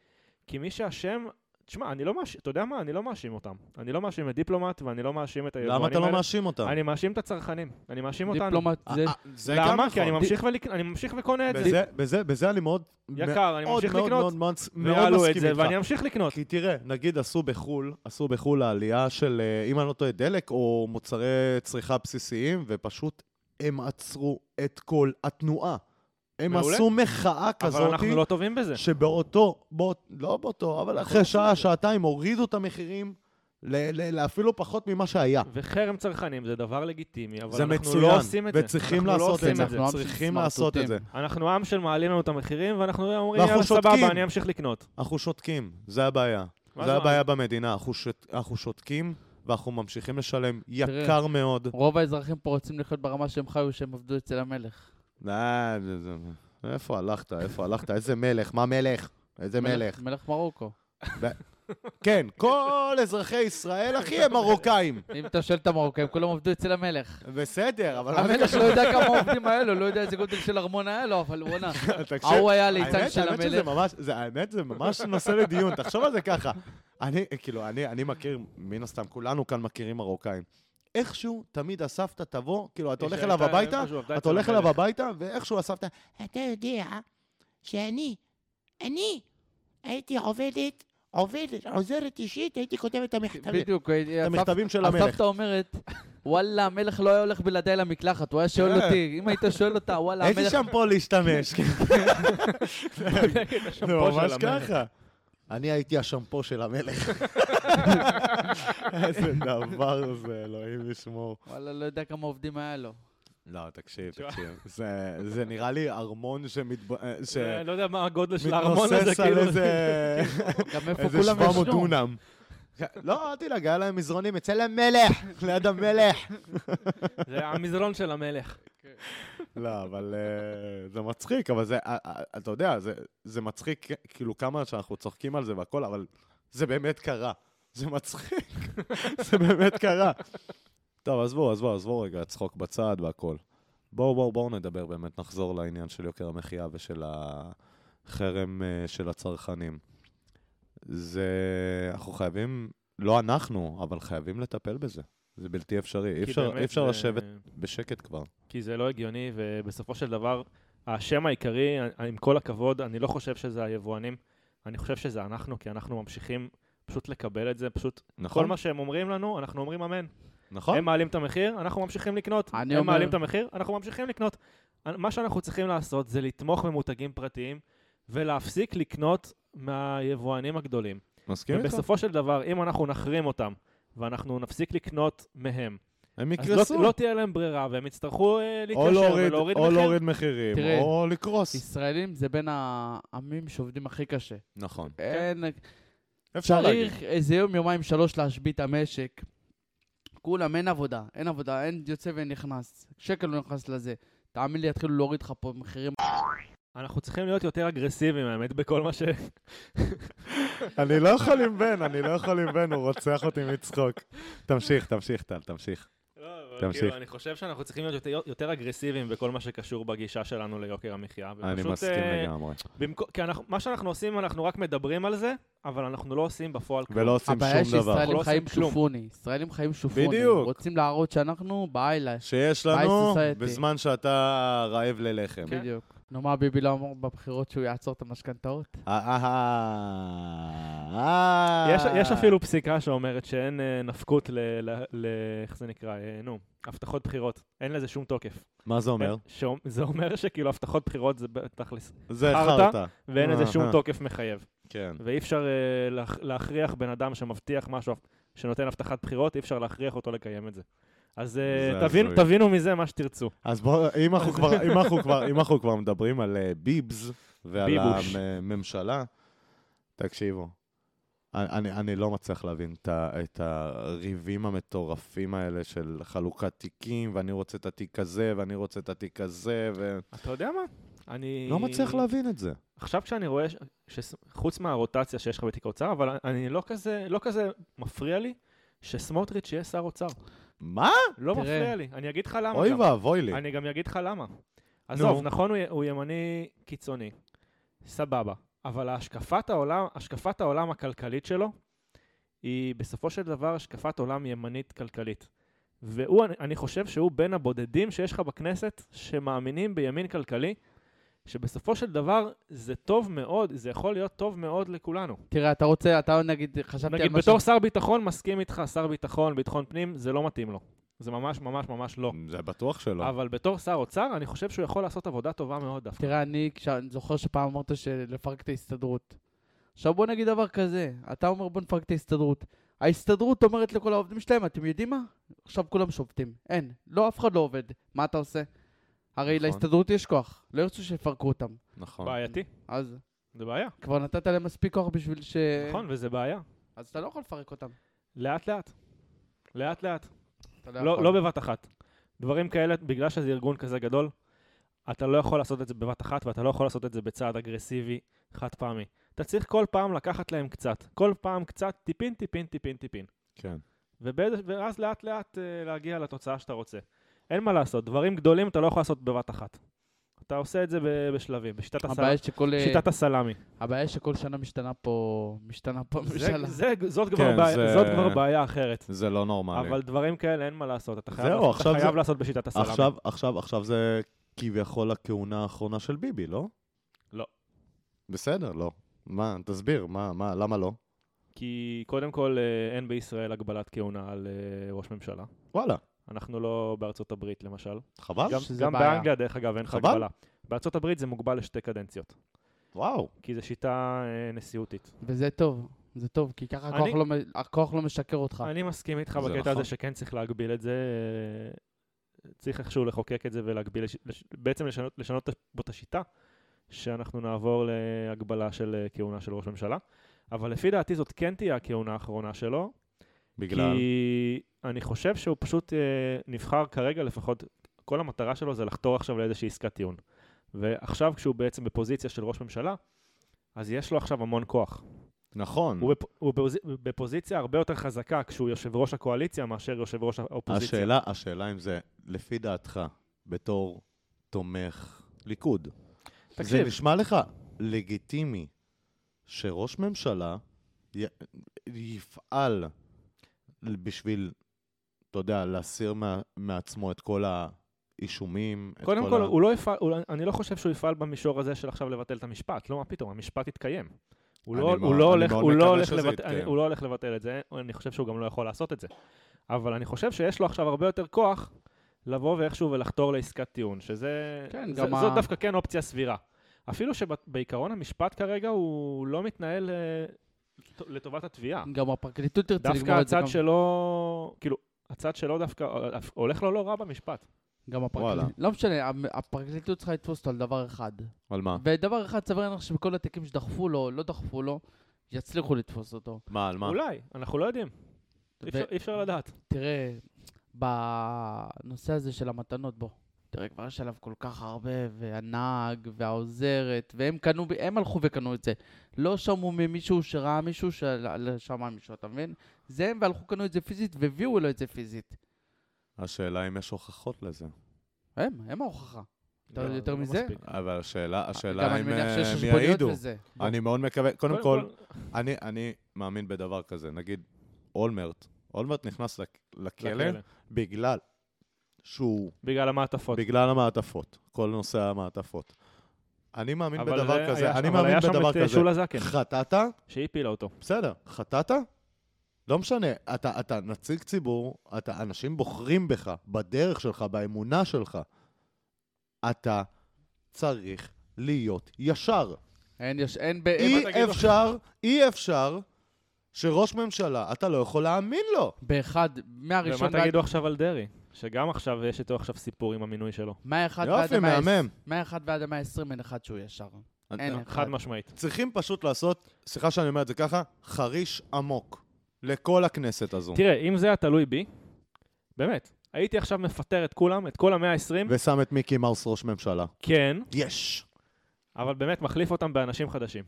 D: כי מי שאשם, תשמע, אני לא מאשים, אתה יודע מה? אני לא מאשים אותם. אני לא מאשים את דיפלומט ואני לא מאשים את היבואנים
A: למה אתה לא
D: האלה.
A: מאשים אותם?
D: אני מאשים את הצרכנים, אני מאשים אותנו.
C: דיפלומט
A: אה,
C: זה...
A: אה, זה גם
D: למה? כי
A: נכון.
D: אני ממשיך ולק- אני ממשיך וקונה את זה.
A: בזה- בזה- בזה אני מאוד...
D: יקר, אני
A: מאוד
D: ממשיך
A: מאוד מאוד
D: לקנות,
A: מאוד מאוד
D: ויעלו את
A: מסכים
D: זה,
A: איתך.
D: ואני אמשיך לקנות.
A: כי תראה, נגיד עשו בחו"ל, עשו בחו"ל העלייה של, אה, אם אני לא טועה, דלק או מוצרי צריכה בסיסיים, ופשוט הם עצרו את כל התנועה. הם
D: מעולה.
A: עשו מחאה
D: אבל
A: כזאת,
D: אנחנו לא טובים בזה.
A: שבאותו, בוא, לא באותו, אבל אחרי שעה, שעתיים, הורידו את המחירים ל- ל- לאפילו פחות ממה שהיה.
D: וחרם צרכנים זה דבר לגיטימי, אבל
A: זה
D: אנחנו לא
A: מצוין,
D: עושים את זה.
A: וצריכים
D: אנחנו לא
A: לעשות
D: עושים
A: את זה,
C: אנחנו עם
A: צריכים לעשות את זה.
C: סמרטוטים.
D: אנחנו עם של מעלים לנו את המחירים, ואנחנו אומרים,
A: ואנחנו
D: יאללה,
A: שותקים."
D: סבבה, אני אמשיך לקנות.
A: אנחנו שותקים, זה הבעיה.
D: מה
A: זה
D: זה-
A: הבעיה במדינה, אנחנו שות- אנחנו שותקים ואנחנו ממשיכים לשלם יקר מאוד.
C: רוב האזרחים פה רוצים לחיות ברמה שהם חיו, שהם עבדו אצל המלך.
A: אה, זה- זה- איפה הלכת? איפה הלכת? איזה מלך? מה מלך? איזה מלך?
C: מלך מרוקו.
A: כן, כל אזרחי ישראל, אחי, הם מרוקאים.
C: אם אתה שואל את המרוקאים, כולם עבדו אצל המלך.
A: בסדר, אבל... מה זה
C: המלך לא יודע כמה עובדים היה לו, לא יודע איזה גודל של ארמון היה לו, אבל בואנה.
A: קשור? תקשיב,
C: ההוא היה ליצן
A: האמת,
C: של
A: האמת שזה
C: המלך.
A: ממש, זה- האמת זה ממש נושא לדיון, תחשוב על זה ככה. אני, כאילו, אני, אני מכיר, מן הסתם, כולנו כאן מכירים מרוקאים. איכשהו, תמיד הסבתא תבוא, כאילו, אתה הולך אליו
D: שהייתה-
A: הביתה,
D: משהו, עבדה
A: אתה
D: אצל
A: הולך
D: המלך.
A: אליו הביתה, ואיכשהו הסבתא,
F: אתה יודע שאני, אני הייתי עובדת, עובדת, עוזרת אישית, הייתי כותבת את
D: כן,
F: המכתבים.
C: בדיוק, אה,
A: את המכתבים של המלך.
C: הסבתא אומרת, וואלה, המלך לא היה הולך בלעדיי למקלחת, הוא היה שואל
A: כן.
C: אותי, אם היית שואל אותה, וואלה,
A: איזה
C: המלך...
A: שמפו להשתמש. זה
D: השמפו של
A: ממש
D: כן. המלך.
A: ככה. אני הייתי השמפו של המלך. איזה דבר זה, אלוהים ישמור.
C: וואלה, לא יודע כמה עובדים היה לו.
A: לא, תקשיב,
D: תשמע.
A: תקשיב. זה- זה נראה לי ארמון שמתב- אה,
D: אה, לא יודע מה הגודל של הארמון הזה,
A: שמתנוסס על
D: כאילו.
A: איזה
C: גם איפה
A: איזה
C: כולם
A: 700
C: ישנו?
A: דונם. לא, אל תדאג, היה להם מזרונים אצל המלך, ליד המלך.
D: זה המזרון של המלך.
A: לא, אבל אה, זה מצחיק, אבל זה, אה, אה, אתה יודע, זה- זה מצחיק, כאילו, כמה שאנחנו צוחקים על זה והכל, אבל זה באמת קרה. זה מצחיק, זה באמת קרה. טוב, עזבו, עזבו, עזבו רגע, צחוק בצד והכל. בואו, בואו, בואו נדבר באמת, נחזור לעניין של יוקר המחיה ושל החרם אה, של הצרכנים. זה, אנחנו חייבים, לא אנחנו, אבל חייבים לטפל בזה. זה בלתי אפשרי, אי
D: כי
A: אפשר,
D: באמת
A: אי אפשר
D: זה-
A: לשבת בשקט כבר.
D: כי זה לא הגיוני, ובסופו של דבר, האשם העיקרי, אה, עם כל הכבוד, אני לא חושב שזה היבואנים, אני חושב שזה אנחנו, כי אנחנו ממשיכים פשוט לקבל את זה, פשוט
A: נכון?
D: כל מה שהם אומרים לנו, אנחנו אומרים אמן.
A: נכון?
D: הם מעלים את המחיר, אנחנו ממשיכים לקנות.
C: אני
D: הם
C: אומר-
D: מעלים את המחיר, אנחנו ממשיכים לקנות. מה שאנחנו צריכים לעשות זה לתמוך במותגים פרטיים ולהפסיק לקנות מהיבואנים הגדולים.
A: מסכים כן, איתך?
D: ובסופו של דבר, אם אנחנו נחרים אותם ואנחנו נפסיק לקנות מהם,
A: הם
D: אז לא,
A: יקרסו.
D: לא תהיה להם ברירה והם יצטרכו אה,
A: או
D: להתיישר
A: להוריד,
D: ולהוריד
A: או
D: מחיר.
A: להוריד מחירים,
C: תראה.
A: או לקרוס.
C: ישראלים זה בין העמים שעובדים הכי קשה.
A: נכון.
C: אין...
A: אפשר להגיד.
C: צריך איזה יום, יומיים, שלוש להשבית את המשק. כולם, אין עבודה, אין עבודה, אין יוצא ואין נכנס. שקל לא נכנס לזה. תאמין לי, יתחילו להוריד לך פה מחירים.
D: אנחנו צריכים להיות יותר אגרסיביים, האמת, בכל מה ש...
A: אני לא יכול עם בן, אני לא יכול עם בן, הוא רוצח אותי מצחוק. תמשיך, תמשיך, טל, תמשיך. תמשיך.
D: תמשיך. לא, כאילו, אני חושב שאנחנו צריכים להיות יותר, יותר אגרסיביים בכל מה שקשור בגישה שלנו ליוקר המחיה.
A: אני
D: ופשוט,
A: מסכים
D: אה,
A: לגמרי.
D: במקום, כי אנחנו, מה שאנחנו עושים, אנחנו רק מדברים על זה, אבל אנחנו לא עושים בפועל כלום.
A: ולא עושים
C: הבעיה
A: שום דבר.
D: אנחנו
C: שישראלים
D: לא
C: חיים
D: עושים כלום.
C: שופוני. ישראלים חיים שופוני.
A: בדיוק.
C: רוצים להראות שאנחנו באיילש.
A: שיש
C: Vice
A: לנו
C: Society.
A: בזמן שאתה רעב ללחם.
D: כן.
C: בדיוק. נו, מה ביבי לא אמר בבחירות שהוא יעצור את המשכנתאות?
A: אה, אה, אה, אה.
D: יש, יש אפילו פסיקה שאומרת שאין אה, נפקות ל... ל, ל איך זה נקרא? אה, נו, הבטחות בחירות. אין לזה שום תוקף.
A: מה זה אומר?
D: אין- אה, שאומ- זה אומר שכאילו הבטחות בחירות זה תכלס,
A: זה
D: אה, חרטא.
A: חרטא.
D: ואין לזה שום
A: אהה.
D: תוקף מחייב.
A: כן.
D: ואי אפשר אה, להכ- להכריח בן אדם שמבטיח משהו, שנותן הבטחת בחירות, אי אפשר להכריח אותו לקיים את זה. אז אה,
A: זה
D: תבינו-
A: הזוי.
D: תבינו מזה מה שתרצו.
A: אז בואו, אם אנחנו כבר- אם אנחנו כבר- אם אנחנו כבר מדברים על אה, ביבס ועל
D: ביבוש.
A: הממשלה, תקשיבו, אני, אני לא מצליח להבין את, ה- את הריבים המטורפים האלה של חלוקת תיקים, ואני רוצה את התיק הזה, ואני רוצה את התיק הזה, ו...
D: אתה יודע מה? אני...
A: לא מצליח להבין את זה.
D: עכשיו כשאני רואה, ש- שס- חוץ מהרוטציה שיש לך בתיק האוצר, אבל אני לא כזה, לא כזה מפריע לי שסמוטריץ' יהיה שר אוצר.
A: מה?
D: לא
C: תראה.
D: מפריע לי. אני אגיד לך למה.
A: אוי
D: גם.
A: ואבוי לי.
D: אני גם אגיד לך למה. עזוב,
A: נו.
D: נכון, הוא י- הוא ימני קיצוני, סבבה, אבל השקפת העולם, השקפת העולם הכלכלית שלו היא בסופו של דבר השקפת עולם ימנית כלכלית. והוא, אני- אני חושב שהוא בין הבודדים שיש לך בכנסת שמאמינים בימין כלכלי, שבסופו של דבר זה טוב מאוד, זה יכול להיות טוב מאוד לכולנו.
C: תראה, אתה רוצה, אתה נגיד, חשבתי על
D: נגיד,
C: מה
D: בתור שר ביטחון מסכים איתך, שר ביטחון, ביטחון פנים, זה לא מתאים לו. זה ממש ממש ממש לא.
A: זה בטוח שלא.
D: אבל בתור שר אוצר, אני חושב שהוא יכול לעשות עבודה טובה מאוד דווקא.
C: תראה, אני כש- אני זוכר שפעם אמרת שלפרק את ההסתדרות. עכשיו בוא נגיד דבר כזה, אתה אומר בוא נפרק את ההסתדרות. ההסתדרות אומרת לכל העובדים שלהם, אתם יודעים מה? עכשיו כולם שובתים. אין. לא, אף אחד לא עובד. מה אתה עושה? הרי
A: נכון.
C: להסתדרות יש כוח, לא ירצו שיפרקו אותם.
A: נכון.
D: בעייתי,
C: אז
D: זה בעיה.
C: כבר נתת להם מספיק כוח בשביל ש...
D: נכון, וזה בעיה.
C: אז אתה לא יכול לפרק אותם.
D: לאט לאט. לאט לאט.
C: אתה
D: לא
C: יכול.
D: לא בבת אחת. דברים כאלה, בגלל שזה ארגון כזה גדול, אתה לא יכול לעשות את זה בבת אחת, ואתה לא יכול לעשות את זה בצעד אגרסיבי, חד פעמי. אתה צריך כל פעם לקחת להם קצת. כל פעם קצת, טיפין, טיפין, טיפין, טיפין.
A: כן.
D: ובאיזה- ואז לאט לאט אה, להגיע לתוצאה שאתה רוצה. אין מה לעשות, דברים גדולים אתה לא יכול לעשות בבת אחת. אתה עושה את זה ב- בשלבים, בשיטת הסל-
C: הבעיה שכל...
D: שיטת הסלאמי.
C: הבעיה שכל שנה משתנה פה... משתנה פה הממשלה.
D: זה, זה, זאת, כבר
A: כן,
D: בעיה,
A: זה-
D: זאת כבר בעיה אחרת.
A: זה לא נורמלי.
D: אבל דברים כאלה אין מה לעשות, אתה חייב,
A: זהו,
D: לעשות,
A: עכשיו
D: אתה חייב
A: זה-
D: לעשות בשיטת הסלאמי.
A: עכשיו, עכשיו, עכשיו זה כביכול הכהונה האחרונה של ביבי, לא?
D: לא.
A: בסדר, לא. מה, תסביר, מה, מה, למה לא?
D: כי קודם כל אה, אין בישראל הגבלת כהונה על אה, ראש ממשלה.
A: וואלה,
D: אנחנו לא בארצות הברית למשל.
A: חבל.
D: גם,
C: שזה
D: גם
C: בעיה.
D: באנגליה דרך אגב אין לך
A: חבל.
D: הגבלה. בארצות הברית זה מוגבל לשתי קדנציות,
A: וואו.
D: כי זו שיטה אה, נשיאותית.
C: וזה טוב, זה טוב, כי ככה
D: אני-
C: הכוח, לא, מ- הכוח לא משקר אותך.
D: אני מסכים איתך
A: זה
D: בקטע
A: נכון.
D: הזה שכן צריך להגביל את זה. אה, צריך איכשהו לחוקק את זה ולהגביל, לש- לש- בעצם לשנות, לשנות בו את השיטה, שאנחנו נעבור להגבלה של אה, כהונה של ראש ממשלה. אבל לפי דעתי זאת כן תהיה הכהונה האחרונה שלו,
A: בגלל...
D: כי אני חושב שהוא פשוט אה, נבחר כרגע לפחות, כל המטרה שלו זה לחתור עכשיו לאיזושהי עסקת טיעון. ועכשיו כשהוא בעצם בפוזיציה של ראש ממשלה, אז יש לו עכשיו המון כוח.
A: נכון.
D: הוא, בפ... הוא בפוז... בפוזיציה הרבה יותר חזקה כשהוא יושב ראש הקואליציה מאשר יושב ראש האופוזיציה.
A: השאלה, השאלה אם זה, לפי דעתך, בתור תומך ליכוד, זה
D: תקשיב,
A: נשמע לך לגיטימי שראש ממשלה י... יפעל בשביל, אתה יודע, להסיר מה... מעצמו את כל האישומים, את
D: קודם
A: כל
D: כל,
A: ה...
D: הוא לא יפעל, הוא... אני לא חושב שהוא יפעל במישור הזה של עכשיו לבטל את המשפט. לא, מה פתאום, המשפט יתקיים. הוא
A: אני
D: לא,
A: מאוד-
D: הוא לא
A: אני
D: הולך,
A: מאוד
D: הוא לא
A: מקווה
D: הולך
A: שזה
D: לבטל,
A: יתקיים.
D: אני, הוא לא הולך לבטל את זה, אני חושב שהוא גם לא יכול לעשות את זה. אבל אני חושב שיש לו עכשיו הרבה יותר כוח לבוא ואיכשהו ולחתור לעסקת טיעון, שזה...
C: כן,
D: זה,
C: גם ה-
D: זאת דווקא כן אופציה סבירה. אפילו שבעיקרון המשפט כרגע הוא לא מתנהל אה, לט- לטובת התביעה.
C: גם הפרקליטות תרצה
D: דווקא
C: לגמור את זה.
D: הצד
C: גם,
D: שלו, כאילו, הצד שלו דווקא אה, הולך לו לא רע במשפט.
C: גם
A: וואלה.
C: הפרקליטות. לא משנה, המ- הפרקליטות צריכה לתפוס אותו על דבר אחד.
A: על מה?
C: ודבר אחד, סביר לך שבכל התיקים שדחפו לו, לא דחפו לו, יצליחו לתפוס אותו.
A: מה, על מה?
D: אולי, אנחנו לא יודעים, אי אפשר- אי אפשר לדעת.
C: ותראה, בנושא הזה של המתנות, בוא. תראה, כבר יש עליו כל כך הרבה, והנהג, והעוזרת, והם קנו, הם הלכו וקנו את זה. לא שמעו ממישהו שראה מישהו, ששמע מישהו, אתה מבין? זה הם והלכו קנו את זה פיזית, והביאו לו את זה פיזית.
A: השאלה אם יש הוכחות לזה.
C: הם, הם ההוכחה. אתה
D: לא,
C: יותר
D: זה לא
C: מזה?
D: מספיק.
A: אבל השאלה,
C: גם
A: השאלה
C: אני
A: אם
C: מניח
A: אה,
C: שיש
A: הם
C: חשבוניות
A: יעידו.
C: וזה.
A: אני מאוד מקווה, קודם
D: קודם
A: כל,
D: כל,
A: אני, אני מאמין בדבר כזה, נגיד אולמרט, אולמרט נכנס לק- לכלא
D: לכלא.
A: בגלל שהוא,
D: בגלל המעטפות.
A: בגלל המעטפות, כל נושא המעטפות. אני מאמין
D: אבל
A: בדבר
D: זה
A: כזה,
D: היה-
A: אני
D: אבל
A: מאמין
D: היה שם
A: בדבר
D: את, אה,
A: כזה.
D: שולה זקן,
A: חטאת?
D: שהפילה אותו.
A: בסדר, חטאת? לא משנה, אתה, אתה נציג ציבור, אתה, אנשים בוחרים בך, בדרך שלך, באמונה שלך. אתה צריך להיות ישר.
C: אין, יש, אין,
D: אה,
C: ב... אין
A: אי אפשר, אי אפשר שראש ממשלה, אתה לא יכול להאמין לו.
C: באחד, מהראשון
D: ומה תגידו עכשיו על דרעי? שגם עכשיו יש איתו עכשיו סיפור עם המינוי שלו.
C: מהאחד ועד
A: יופי,
C: המאה...
A: מהמם. אה,
C: מהאחד ועד המאה עשרים אין אחד שהוא ישר. אין אחד.
D: חד משמעית.
A: צריכים פשוט לעשות, סליחה שאני אומר את זה ככה, חריש עמוק לכל הכנסת הזו.
D: תראה, אם זה היה תלוי בי, באמת, הייתי עכשיו מפטר את כולם, את כל המאה ה-20,
A: ושם את מיקי מאוס ראש ממשלה.
D: כן,
A: יש.
D: אבל באמת מחליף אותם באנשים חדשים.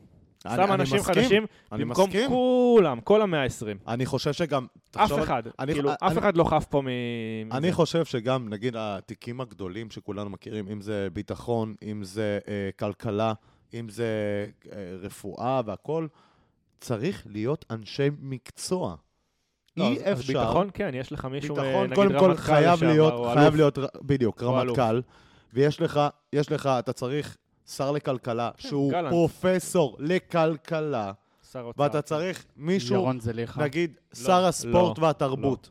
A: אני-
D: שם
A: אני
D: אנשים
A: מסכים,
D: חדשים
A: אני
D: במקום
A: מסכים.
D: כולם, כל המאה ה-20.
A: אני חושב שגם...
D: אף
A: תחשוב על-
D: אחד,
A: אני-
D: כאילו,
A: אני-
D: אף אחד לא חף פה מ...
A: אני
D: מזה.
A: חושב שגם, נגיד, התיקים הגדולים שכולנו מכירים, אם זה ביטחון, אם זה אה, כלכלה, אם זה אה, רפואה והכול, צריך להיות אנשי מקצוע.
D: לא, אז-
A: אי
D: אז
A: אפשר.
D: ביטחון, כן, יש לך מישהו, אה,
A: ביטחון,
D: נגיד
A: קודם כל,
D: רמטכ"ל
A: חייב
D: לשעבר,
A: להיות,
D: או
A: חייב
D: אלוף.
A: להיות, ר- בדיוק,
D: או אלוף.
A: רמטכ"ל, ויש לך, יש לך, אתה צריך שר לכלכלה,
C: כן,
A: שהוא
D: גלנט.
A: פרופסור לכלכלה,
D: שר אוצר.
A: ואתה צריך מישהו,
C: ירון זליכה.
A: נגיד,
D: לא,
A: שר הספורט והתרבות.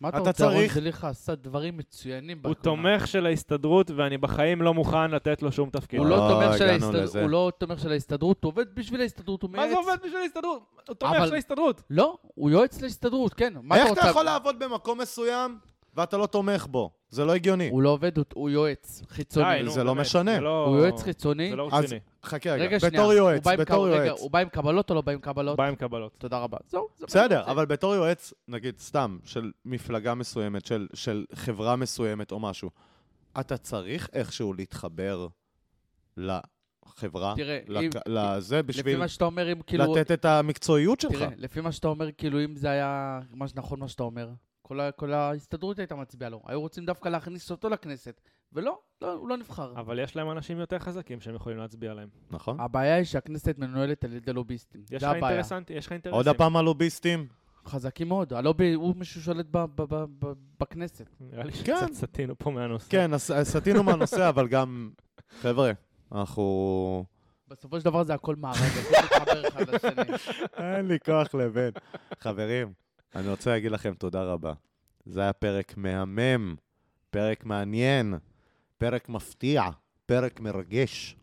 C: מה אתה
A: אתה
C: רוצה? ירון
A: צריך-
C: זליכה עשה דברים מצוינים.
D: הוא
C: בהקרנה.
D: תומך של ההסתדרות, ואני בחיים לא מוכן לתת לו שום תפקיד.
C: הוא לא
A: לא,
C: תומך של
A: הגענו
C: ההסתדרות,
A: לזה.
C: הוא לא תומך של ההסתדרות, הוא עובד בשביל ההסתדרות, הוא מייעץ.
D: מה זה עובד בשביל ההסתדרות? הוא תומך
C: אבל-
D: של ההסתדרות.
C: לא, הוא יועץ להסתדרות, כן. מה
A: איך
C: רוצה?
A: אתה יכול לעבוד במקום מסוים ואתה לא תומך בו? זה לא הגיוני.
C: הוא לא עובד, הוא- הוא יועץ חיצוני.
D: די, נו,
A: זה לא
D: באמת,
A: משנה.
D: זה לא-
C: הוא יועץ חיצוני.
D: זה לא
A: אז-
D: רציני.
A: חכה רגע,
C: רגע, שנייה.
A: בתור יועץ,
C: הוא בא עם
A: בתור
C: קב- רגע,
A: יועץ.
C: הוא בא עם קבלות או לא בא עם קבלות?
D: בא עם קבלות.
C: תודה רבה. זהו, זה מה שאני
A: בסדר,
C: רוצה.
A: אבל בתור יועץ, נגיד סתם, של מפלגה מסוימת, של, של חברה מסוימת או משהו, אתה צריך איכשהו להתחבר לחברה,
C: תראה, אם-
A: לק... לזה,
C: לפי
A: בשביל
C: מה שאתה אומר, אם כאילו...
A: לתת את המקצועיות שלך.
C: תראה, לפי מה שאתה אומר, כאילו, אם זה היה מה שנכון מה שאתה אומר, כל ה- כל ההסתדרות הייתה מצביעה לו. היו רוצים דווקא להכניס אותו לכנסת. ולא, לא, הוא לא נבחר.
D: אבל יש להם אנשים יותר חזקים שהם יכולים להצביע להם.
A: נכון?
C: הבעיה היא שהכנסת מנוהלת על ידי לוביסטים.
D: יש
C: זה
D: לך
C: הבעיה.
D: אינטרסנט, יש לך אינטרסים.
A: עוד הפעם הלוביסטים?
C: חזקים מאוד. הלובי, הוא מישהו ששולט ב- ב- ב- ב- בכנסת.
D: נראה לי
A: כן.
D: שקצת סטינו פה מהנושא.
A: כן, אז- אז סטינו מהנושא, אבל גם... חבר'ה, אנחנו...
C: בסופו של דבר זה הכל מארג, הכל מתחבר אחד לשני.
A: אין לי כוח לבן. חברים, אני רוצה להגיד לכם תודה רבה. זה היה פרק מהמם, פרק מעניין, פרק מפתיע, פרק מרגש,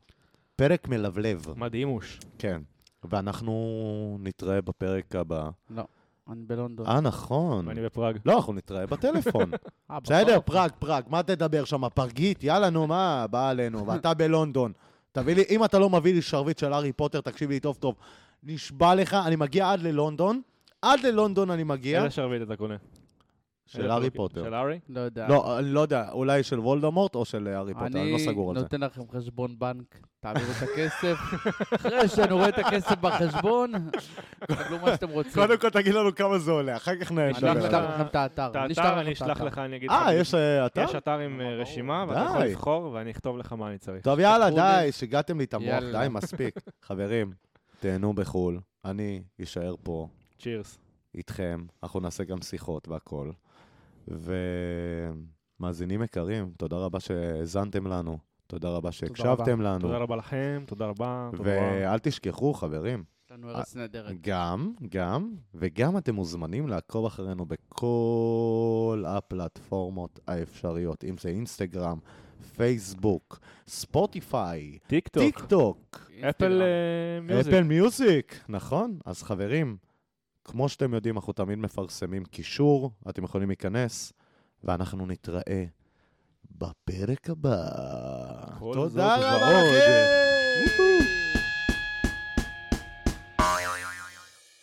A: פרק מלבלב.
D: מדהימוש.
A: כן. ואנחנו נתראה בפרק הבא.
C: אני בלונדון.
A: אה, נכון.
D: ואני בפראג.
A: לא, אנחנו נתראה בטלפון.
C: אה,
A: בסדר,
C: בסוף.
A: פראג, פראג, מה תדבר שם? פרגית? יאללה, נו, מה בא עלינו? ואתה בלונדון. תביא לי, אם אתה לא מביא לי שרביט של הארי פוטר, תקשיב לי טוב טוב. נשבע לך, אני מגיע עד ללונדון. עד ללונדון אני מגיע.
D: איזה שרביט אתה קונה?
A: של
D: איזה
A: הארי
D: פרק-
A: פוטר.
D: אוקיי, של הארי?
C: לא יודע.
A: לא, אני לא יודע, אולי של וולדמורט או של הארי פוטר, אני לא סגור על
C: אני
A: זה.
C: נותן לכם חשבון בנק, תעבירו את הכסף. אחרי שאני רואה את הכסף בחשבון, תקבלו מה שאתם רוצים.
A: קודם כל תגיד לנו כמה זה עולה, אחר כך
C: אני לא
A: נדבר. על זה.
C: אשלח לכם
D: נשלח לך-
C: את האתר.
D: את האתר אני אשלח לך, אני אגיד לך.
A: אה, יש אה, אתר?
D: יש אתר עם אה, רשימה, ואתה יכול
A: די.
D: לבחור, ואני אכתוב לך מה אני צריך.
A: טוב, יאללה,
C: תפתחו לי.
A: די, שיגעתם לי את המוח,
C: יאללה.
A: די, מספיק. חברים, תהנו בחו"ל, אני אשאר פה
D: צ'ירס.
A: איתכם, אנחנו נעשה גם שיחות והכול. ומאזינים יקרים, תודה רבה שהאזנתם לנו, תודה רבה שהקשבתם לנו.
D: תודה רבה לכם, תודה רבה. תודה רבה.
A: ואל תשכחו, חברים,
C: יש לנו ארץ נהדרת.
A: גם, גם, וגם אתם מוזמנים לעקוב אחרינו בכל הפלטפורמות האפשריות, אם זה אינסטגרם, פייסבוק, ספוטיפיי,
D: טיק
A: טיק
D: טוק.
A: טוק,
C: אינסטגרם.
D: אפל אה, מיוזיק.
A: אפל מיוזיק, נכון? אז חברים, כמו שאתם יודעים, אנחנו תמיד מפרסמים קישור, אתם יכולים להיכנס, ואנחנו נתראה בפרק הבא.
D: כל זאת
A: תודה רבה
D: ועוד.
A: לכם!